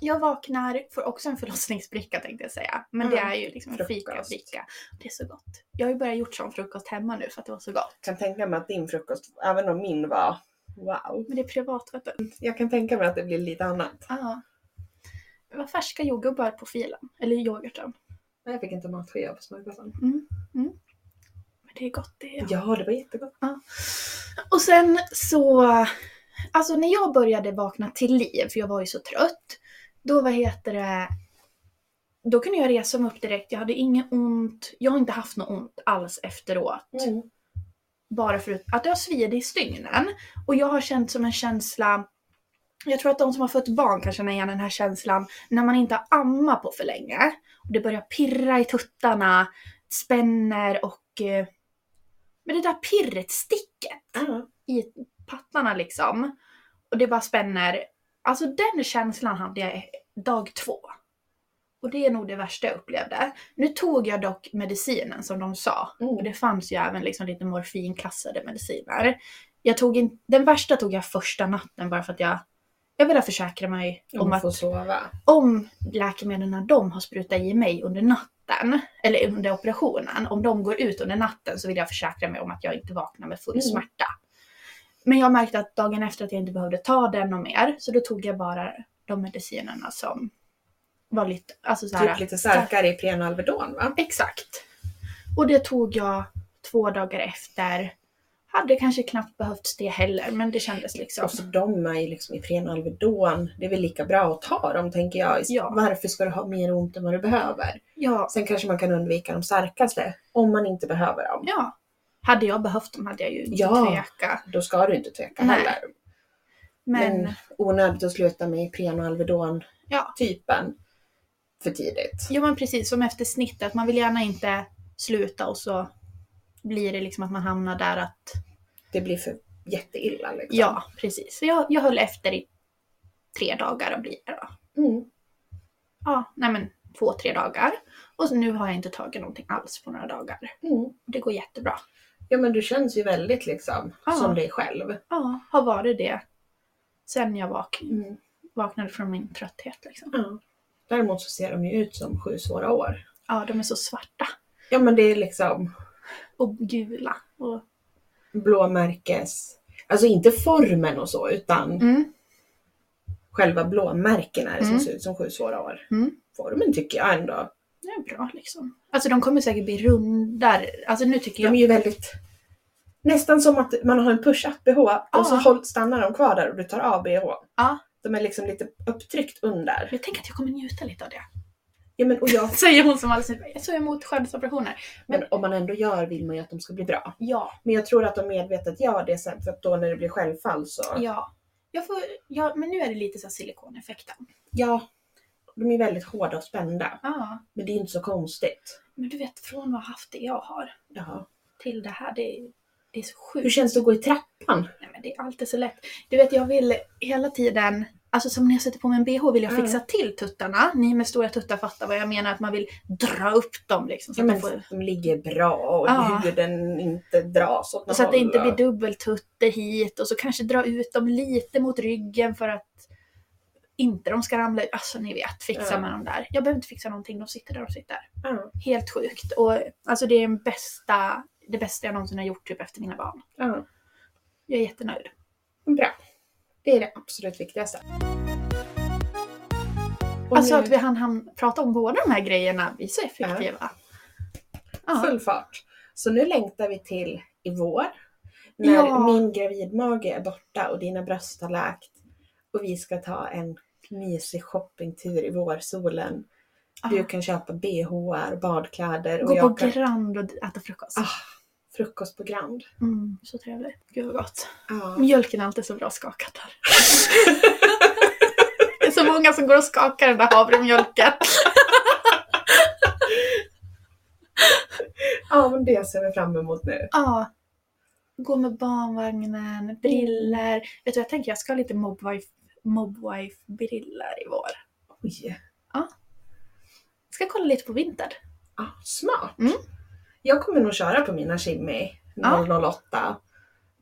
[SPEAKER 2] Jag vaknar, får också en förlossningsbricka tänkte jag säga. Men det
[SPEAKER 1] Mm.
[SPEAKER 2] är ju liksom en
[SPEAKER 1] Frukost.
[SPEAKER 2] fikabricka. Det är så gott. Jag har ju börjat gjort sån frukost hemma nu för att det var så gott.
[SPEAKER 1] kan tänka mig att din frukost, även om min var wow.
[SPEAKER 2] Men det är privat vet du.
[SPEAKER 1] Jag kan tänka mig att det blir lite annat.
[SPEAKER 2] Ja. Det var färska jordgubbar på filen. Eller i yoghurten.
[SPEAKER 1] Men jag fick inte matskea på smörgåsen.
[SPEAKER 2] Men det är gott det.
[SPEAKER 1] Ja, det var jättegott.
[SPEAKER 2] Och sen så, alltså när jag började vakna till liv, för jag var ju så trött, då vad heter det, då kunde jag resa mig upp direkt, jag hade inget ont, jag har inte haft något ont alls efteråt.
[SPEAKER 1] Mm.
[SPEAKER 2] Bara för att jag svider i stygnen. Och jag har känt som en känsla, jag tror att de som har fött barn kan känna igen den här känslan, när man inte har ammat på för länge. Och det börjar pirra i tuttarna, spänner och... eh, Men det där pirret, sticket
[SPEAKER 1] Ja.
[SPEAKER 2] i pattarna liksom. Och det bara spänner. Alltså den känslan hade jag dag två. Och det är nog det värsta jag upplevde. Nu tog jag dock medicinen som de sa.
[SPEAKER 1] Mm.
[SPEAKER 2] Och det fanns ju även liksom lite morfinklassade mediciner. Jag tog in, den värsta tog jag första natten bara för att jag, jag ville försäkra mig
[SPEAKER 1] Om
[SPEAKER 2] om
[SPEAKER 1] man
[SPEAKER 2] att
[SPEAKER 1] får sova.
[SPEAKER 2] om läkemedlen de har sprutat i mig under natten, eller under operationen, om de går ut under natten så vill jag försäkra mig om att jag inte vaknar med full
[SPEAKER 1] Mm.
[SPEAKER 2] smärta. Men jag märkte att dagen efter att jag inte behövde ta den och mer, så då tog jag bara de medicinerna som var lite, alltså så här,
[SPEAKER 1] Typ lite starkare i Alvedon va?
[SPEAKER 2] Exakt. Och det tog jag två dagar efter. Hade kanske knappt behövt det heller, men det kändes liksom.
[SPEAKER 1] Alltså de är ju liksom i Alvedon. Det är väl lika bra att ta dem tänker jag.
[SPEAKER 2] Ja.
[SPEAKER 1] Varför ska du ha mer ont än vad du behöver?
[SPEAKER 2] Ja,
[SPEAKER 1] Sen kanske man kan undvika de starkaste om man inte behöver dem.
[SPEAKER 2] ja. Hade jag behövt dem hade jag ju inte
[SPEAKER 1] Ja.
[SPEAKER 2] tveka.
[SPEAKER 1] Då ska du inte tveka
[SPEAKER 2] Nej.
[SPEAKER 1] heller.
[SPEAKER 2] Men,
[SPEAKER 1] Men onödigt att sluta med Ipren och Alvedon
[SPEAKER 2] ja.
[SPEAKER 1] typen för tidigt.
[SPEAKER 2] Jo men precis, som efter snittet. Man vill gärna inte sluta och så blir det liksom att man hamnar där att...
[SPEAKER 1] Det blir för jätteilla liksom.
[SPEAKER 2] Ja, precis. Så jag, jag höll efter i tre dagar och blir det då.
[SPEAKER 1] Mm.
[SPEAKER 2] Ja, nej men två, tre dagar. Och så nu har jag inte tagit någonting alls på några dagar.
[SPEAKER 1] Mm.
[SPEAKER 2] Det går jättebra.
[SPEAKER 1] ja men du känns ju väldigt liksom
[SPEAKER 2] Ja.
[SPEAKER 1] som dig själv.
[SPEAKER 2] Ja, har varit det sen jag vak-
[SPEAKER 1] Mm.
[SPEAKER 2] vaknade från min trötthet liksom.
[SPEAKER 1] Ja. Däremot så ser de ju ut som sju svåra år.
[SPEAKER 2] Ja, de är så svarta
[SPEAKER 1] Ja men det är liksom
[SPEAKER 2] och gula. Och...
[SPEAKER 1] blåmärkes... Alltså inte formen och så utan
[SPEAKER 2] Mm.
[SPEAKER 1] själva blåmärkena är det som
[SPEAKER 2] Mm.
[SPEAKER 1] ser ut som sju svåra år.
[SPEAKER 2] Mm.
[SPEAKER 1] Formen tycker jag ändå.
[SPEAKER 2] Det är bra liksom. Alltså de kommer säkert bli rundare. Alltså nu tycker
[SPEAKER 1] De
[SPEAKER 2] jag...
[SPEAKER 1] är ju väldigt... Nästan som att man har en push-up bh och så
[SPEAKER 2] Ja.
[SPEAKER 1] håll, stannar de kvar där och du tar av bh.
[SPEAKER 2] Ja,
[SPEAKER 1] De är liksom lite upptryckt under.
[SPEAKER 2] jag tänker att jag kommer njuta lite av det.
[SPEAKER 1] Ja, men, och jag,
[SPEAKER 2] Säger hon som alldeles nyss, jag såg emot skönhetsoperationer.
[SPEAKER 1] men om man ändå gör vill man ju att de ska bli bra.
[SPEAKER 2] Ja,
[SPEAKER 1] Men jag tror att de medvetet gör det sen för att då när det blir självfall så...
[SPEAKER 2] ja. Jag får, ja men nu är det lite så här silikoneffekten.
[SPEAKER 1] Ja, de är väldigt hårda och spända.
[SPEAKER 2] Ja,
[SPEAKER 1] Men det är ju inte så konstigt.
[SPEAKER 2] men du vet från att ha haft det jag har
[SPEAKER 1] Ja.
[SPEAKER 2] till det här, det, är- det är så
[SPEAKER 1] Hur
[SPEAKER 2] sjukt.
[SPEAKER 1] känns det att gå i trappan?
[SPEAKER 2] Nej, men det är alltid så lätt. Du vet jag vill hela tiden, alltså som när jag sätter på mig en bh vill jag
[SPEAKER 1] Mm.
[SPEAKER 2] fixa till tuttarna. Ni med stora tuttar fattar vad jag menar, att man vill dra upp dem liksom. Så,
[SPEAKER 1] Ja,
[SPEAKER 2] att,
[SPEAKER 1] men
[SPEAKER 2] de får,
[SPEAKER 1] de ligger bra och
[SPEAKER 2] Ja.
[SPEAKER 1] huden inte dras åt något
[SPEAKER 2] så att det inte
[SPEAKER 1] håll
[SPEAKER 2] blir
[SPEAKER 1] och-
[SPEAKER 2] dubbeltutter hit och så kanske dra ut dem lite mot ryggen för att inte de ska ramla ut. Alltså ni vet, fixa
[SPEAKER 1] Ja.
[SPEAKER 2] med dem där. Jag behöver inte fixa någonting, de sitter där de sitter.
[SPEAKER 1] Ja,
[SPEAKER 2] Helt sjukt. Och alltså det är den bästa, det bästa jag någonsin har gjort typ efter mina barn.
[SPEAKER 1] ja.
[SPEAKER 2] Jag är jättenöjd.
[SPEAKER 1] Bra. Det är det absolut viktigaste. Och
[SPEAKER 2] Alltså
[SPEAKER 1] nu-
[SPEAKER 2] att vi hann, hann prata om båda de här grejerna. Vi är så effektiva. Ja.
[SPEAKER 1] Full fart. Så nu längtar vi till i vår. När
[SPEAKER 2] Ja.
[SPEAKER 1] min gravidmage är borta och dina bröst har läkt. Och vi ska ta en mysig shoppingtur i vårsolen. Du
[SPEAKER 2] Ja.
[SPEAKER 1] kan köpa bhar, badkläder och
[SPEAKER 2] Gå på
[SPEAKER 1] jag kan...
[SPEAKER 2] Grand och äta frukost.
[SPEAKER 1] Ah, frukost på Grand.
[SPEAKER 2] Mm, så trevligt. Gud vad gott.
[SPEAKER 1] Ja.
[SPEAKER 2] Mjölken är alltid så bra skakad där. det är så många som går och skakar den där havremjölken.
[SPEAKER 1] ja, men det ser vi fram emot nu.
[SPEAKER 2] Ja. Gå med barnvagnen, briller. Vet du, jag tänker jag ska ha lite mobwife, mobwife briller i vår.
[SPEAKER 1] Oj,
[SPEAKER 2] Ska kolla lite på vinter.
[SPEAKER 1] ah, smart.
[SPEAKER 2] Mm.
[SPEAKER 1] Jag kommer nog köra på mina Shimmy
[SPEAKER 2] Ja.
[SPEAKER 1] 008.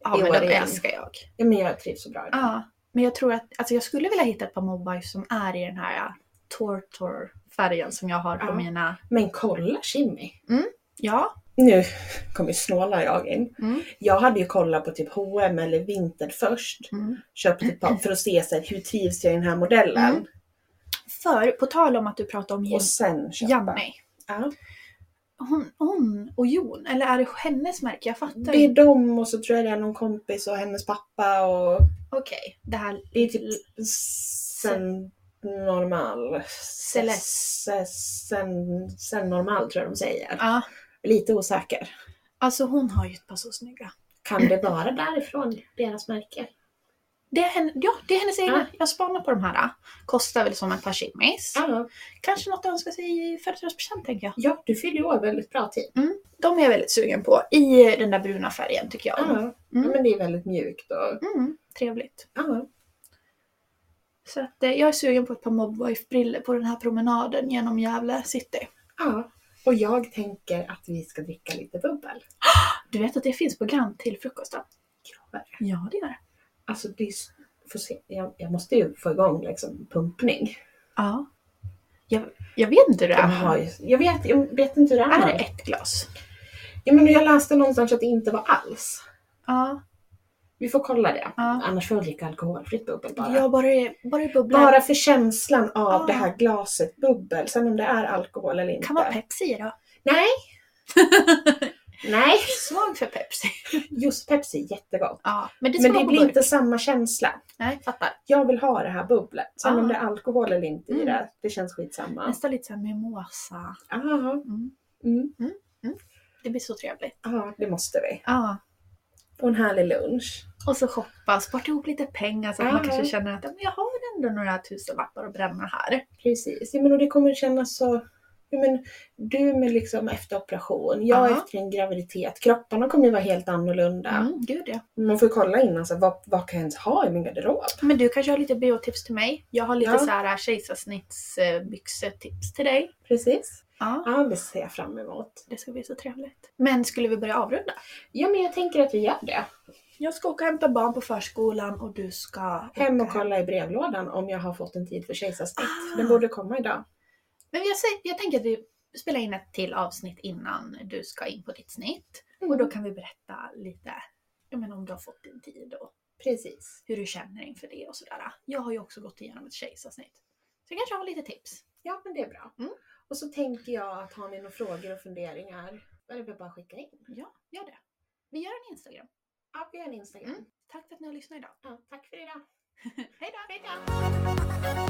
[SPEAKER 2] Ja,
[SPEAKER 1] I
[SPEAKER 2] men
[SPEAKER 1] år
[SPEAKER 2] de
[SPEAKER 1] igen.
[SPEAKER 2] älskar jag.
[SPEAKER 1] Ja, men jag trivs så bra i dem.
[SPEAKER 2] Ja. Men jag tror att, alltså jag skulle vilja hitta ett par mobiles som är i den här äh, tortor-färgen som jag har på
[SPEAKER 1] Ja.
[SPEAKER 2] mina.
[SPEAKER 1] Men kolla Kimmy!
[SPEAKER 2] Ja,
[SPEAKER 1] Nu kommer snåla jag in.
[SPEAKER 2] Mm.
[SPEAKER 1] Jag hade ju kollat på typ H&M eller Vinted först.
[SPEAKER 2] Mm.
[SPEAKER 1] Köpt ett par för att se så här, hur trivs jag i den här modellen.
[SPEAKER 2] Mm. för på tal om att du pratar om
[SPEAKER 1] Och
[SPEAKER 2] Jan-
[SPEAKER 1] sen köpa.
[SPEAKER 2] Janne.
[SPEAKER 1] Ja.
[SPEAKER 2] Hon, hon och Jon, eller är det hennes märke? Jag fattar
[SPEAKER 1] Det är
[SPEAKER 2] inte.
[SPEAKER 1] dem och så tror jag det är någon kompis och hennes pappa och
[SPEAKER 2] Okej, det här...
[SPEAKER 1] det är typ sen normal.
[SPEAKER 2] Celeste.
[SPEAKER 1] Sen, sen normal tror jag de säger.
[SPEAKER 2] Ja,
[SPEAKER 1] Lite osäker.
[SPEAKER 2] alltså hon har ju ett par så snygga.
[SPEAKER 1] Kan det vara därifrån deras märke?
[SPEAKER 2] Det är, henne, ja, det är hennes egna.
[SPEAKER 1] Ja.
[SPEAKER 2] Jag spanar på de här. Kostar väl som ett par chimis.
[SPEAKER 1] Ja,
[SPEAKER 2] Kanske något att önska sig i födelsedagspresent tänker jag.
[SPEAKER 1] ja du fyller ju år väldigt bra tid.
[SPEAKER 2] De är jag väldigt sugen på. I den där bruna färgen tycker jag.
[SPEAKER 1] Ja,
[SPEAKER 2] Mm.
[SPEAKER 1] men det är väldigt mjukt och
[SPEAKER 2] Mm, trevligt.
[SPEAKER 1] ja.
[SPEAKER 2] Så att, eh, jag är sugen på ett par Mobwife-briller på den här promenaden genom Gävle city.
[SPEAKER 1] ja. Och jag tänker att vi ska dricka lite bubbel.
[SPEAKER 2] Du vet att det finns program till frukosten? Ja, det gör det.
[SPEAKER 1] Alltså det är, s- får se. Jag, jag måste ju få igång liksom pumpning.
[SPEAKER 2] Ja. Jag, jag vet inte hur
[SPEAKER 1] De
[SPEAKER 2] det är.
[SPEAKER 1] har ju, jag, vet, jag vet inte hur det
[SPEAKER 2] Är
[SPEAKER 1] är.
[SPEAKER 2] det ett glas?
[SPEAKER 1] Ja, men jag läste någonstans att det inte var alls.
[SPEAKER 2] Ja.
[SPEAKER 1] Vi får kolla det.
[SPEAKER 2] Ja.
[SPEAKER 1] Annars får jag dricka alkoholfritt bubbel bara.
[SPEAKER 2] Ja, bara det, bara det bubblar.
[SPEAKER 1] Bara för känslan av
[SPEAKER 2] Ja.
[SPEAKER 1] det här glaset bubbel. Sen om det är alkohol eller inte.
[SPEAKER 2] Kan vara Pepsi i då?
[SPEAKER 1] Nej! Nej!
[SPEAKER 2] Svag för Pepsi.
[SPEAKER 1] Just Pepsi är jättegott.
[SPEAKER 2] Ja, men det ska
[SPEAKER 1] Men det
[SPEAKER 2] vara på
[SPEAKER 1] blir
[SPEAKER 2] burk.
[SPEAKER 1] inte samma känsla.
[SPEAKER 2] Nej, fattar.
[SPEAKER 1] Jag vill ha det här bubblet. Sen
[SPEAKER 2] Ja.
[SPEAKER 1] om det är alkohol eller inte i
[SPEAKER 2] Ah. Mm.
[SPEAKER 1] det, det känns skitsamma.
[SPEAKER 2] Nästan lite såhär mimosa.
[SPEAKER 1] Ja,
[SPEAKER 2] Mm.
[SPEAKER 1] mm.
[SPEAKER 2] Det blir så trevligt.
[SPEAKER 1] Ja, det måste vi.
[SPEAKER 2] Ja.
[SPEAKER 1] Och en härlig lunch.
[SPEAKER 2] Och så shoppa, spara ihop lite pengar så att man
[SPEAKER 1] Ja.
[SPEAKER 2] kanske känner att "Ja, men jag har ändå några tusenlappar att bränna här.
[SPEAKER 1] Precis, ja, men och det kommer kännas så... Ja, men du med liksom efter operation, jag
[SPEAKER 2] Ja.
[SPEAKER 1] efter en graviditet. Kropparna kommer ju vara helt annorlunda.
[SPEAKER 2] Mm, gud ja.
[SPEAKER 1] Man får ju kolla innan, så här, vad, vad kan jag ens ha i min garderob?
[SPEAKER 2] Men du kanske har lite biotips till mig? Jag har lite
[SPEAKER 1] Ja.
[SPEAKER 2] så här kejsarsnittsbyxetips till dig.
[SPEAKER 1] Precis.
[SPEAKER 2] Ja.
[SPEAKER 1] Ja, det ser jag fram emot.
[SPEAKER 2] Det ska bli så trevligt. Men skulle vi börja avrunda?
[SPEAKER 1] Ja, men jag tänker att vi gör det.
[SPEAKER 2] Jag ska åka och hämta barn på förskolan och du ska
[SPEAKER 1] Hem och
[SPEAKER 2] åka
[SPEAKER 1] kolla i brevlådan om jag har fått en tid för kejsarsnitt.
[SPEAKER 2] Ah.
[SPEAKER 1] Den borde komma idag.
[SPEAKER 2] Men jag, säger, jag tänker att vi spelar in ett till avsnitt innan du ska in på ditt snitt.
[SPEAKER 1] Mm.
[SPEAKER 2] Och då kan vi berätta lite jag menar, om du har fått din tid och
[SPEAKER 1] Precis.
[SPEAKER 2] hur du känner inför det och sådär. Jag har ju också gått igenom ett kejsarsnitt. Så jag kanske har lite tips.
[SPEAKER 1] Ja, men det är bra.
[SPEAKER 2] Mm.
[SPEAKER 1] Och så tänker jag att har ni några frågor och funderingar, då är det väl bara att skicka in.
[SPEAKER 2] Ja, gör det. Vi gör en Instagram.
[SPEAKER 1] Ja, vi gör en Instagram.
[SPEAKER 2] Mm. Tack för att ni har lyssnat idag.
[SPEAKER 1] Ja, tack för idag.
[SPEAKER 2] Hej då!
[SPEAKER 1] Hej då!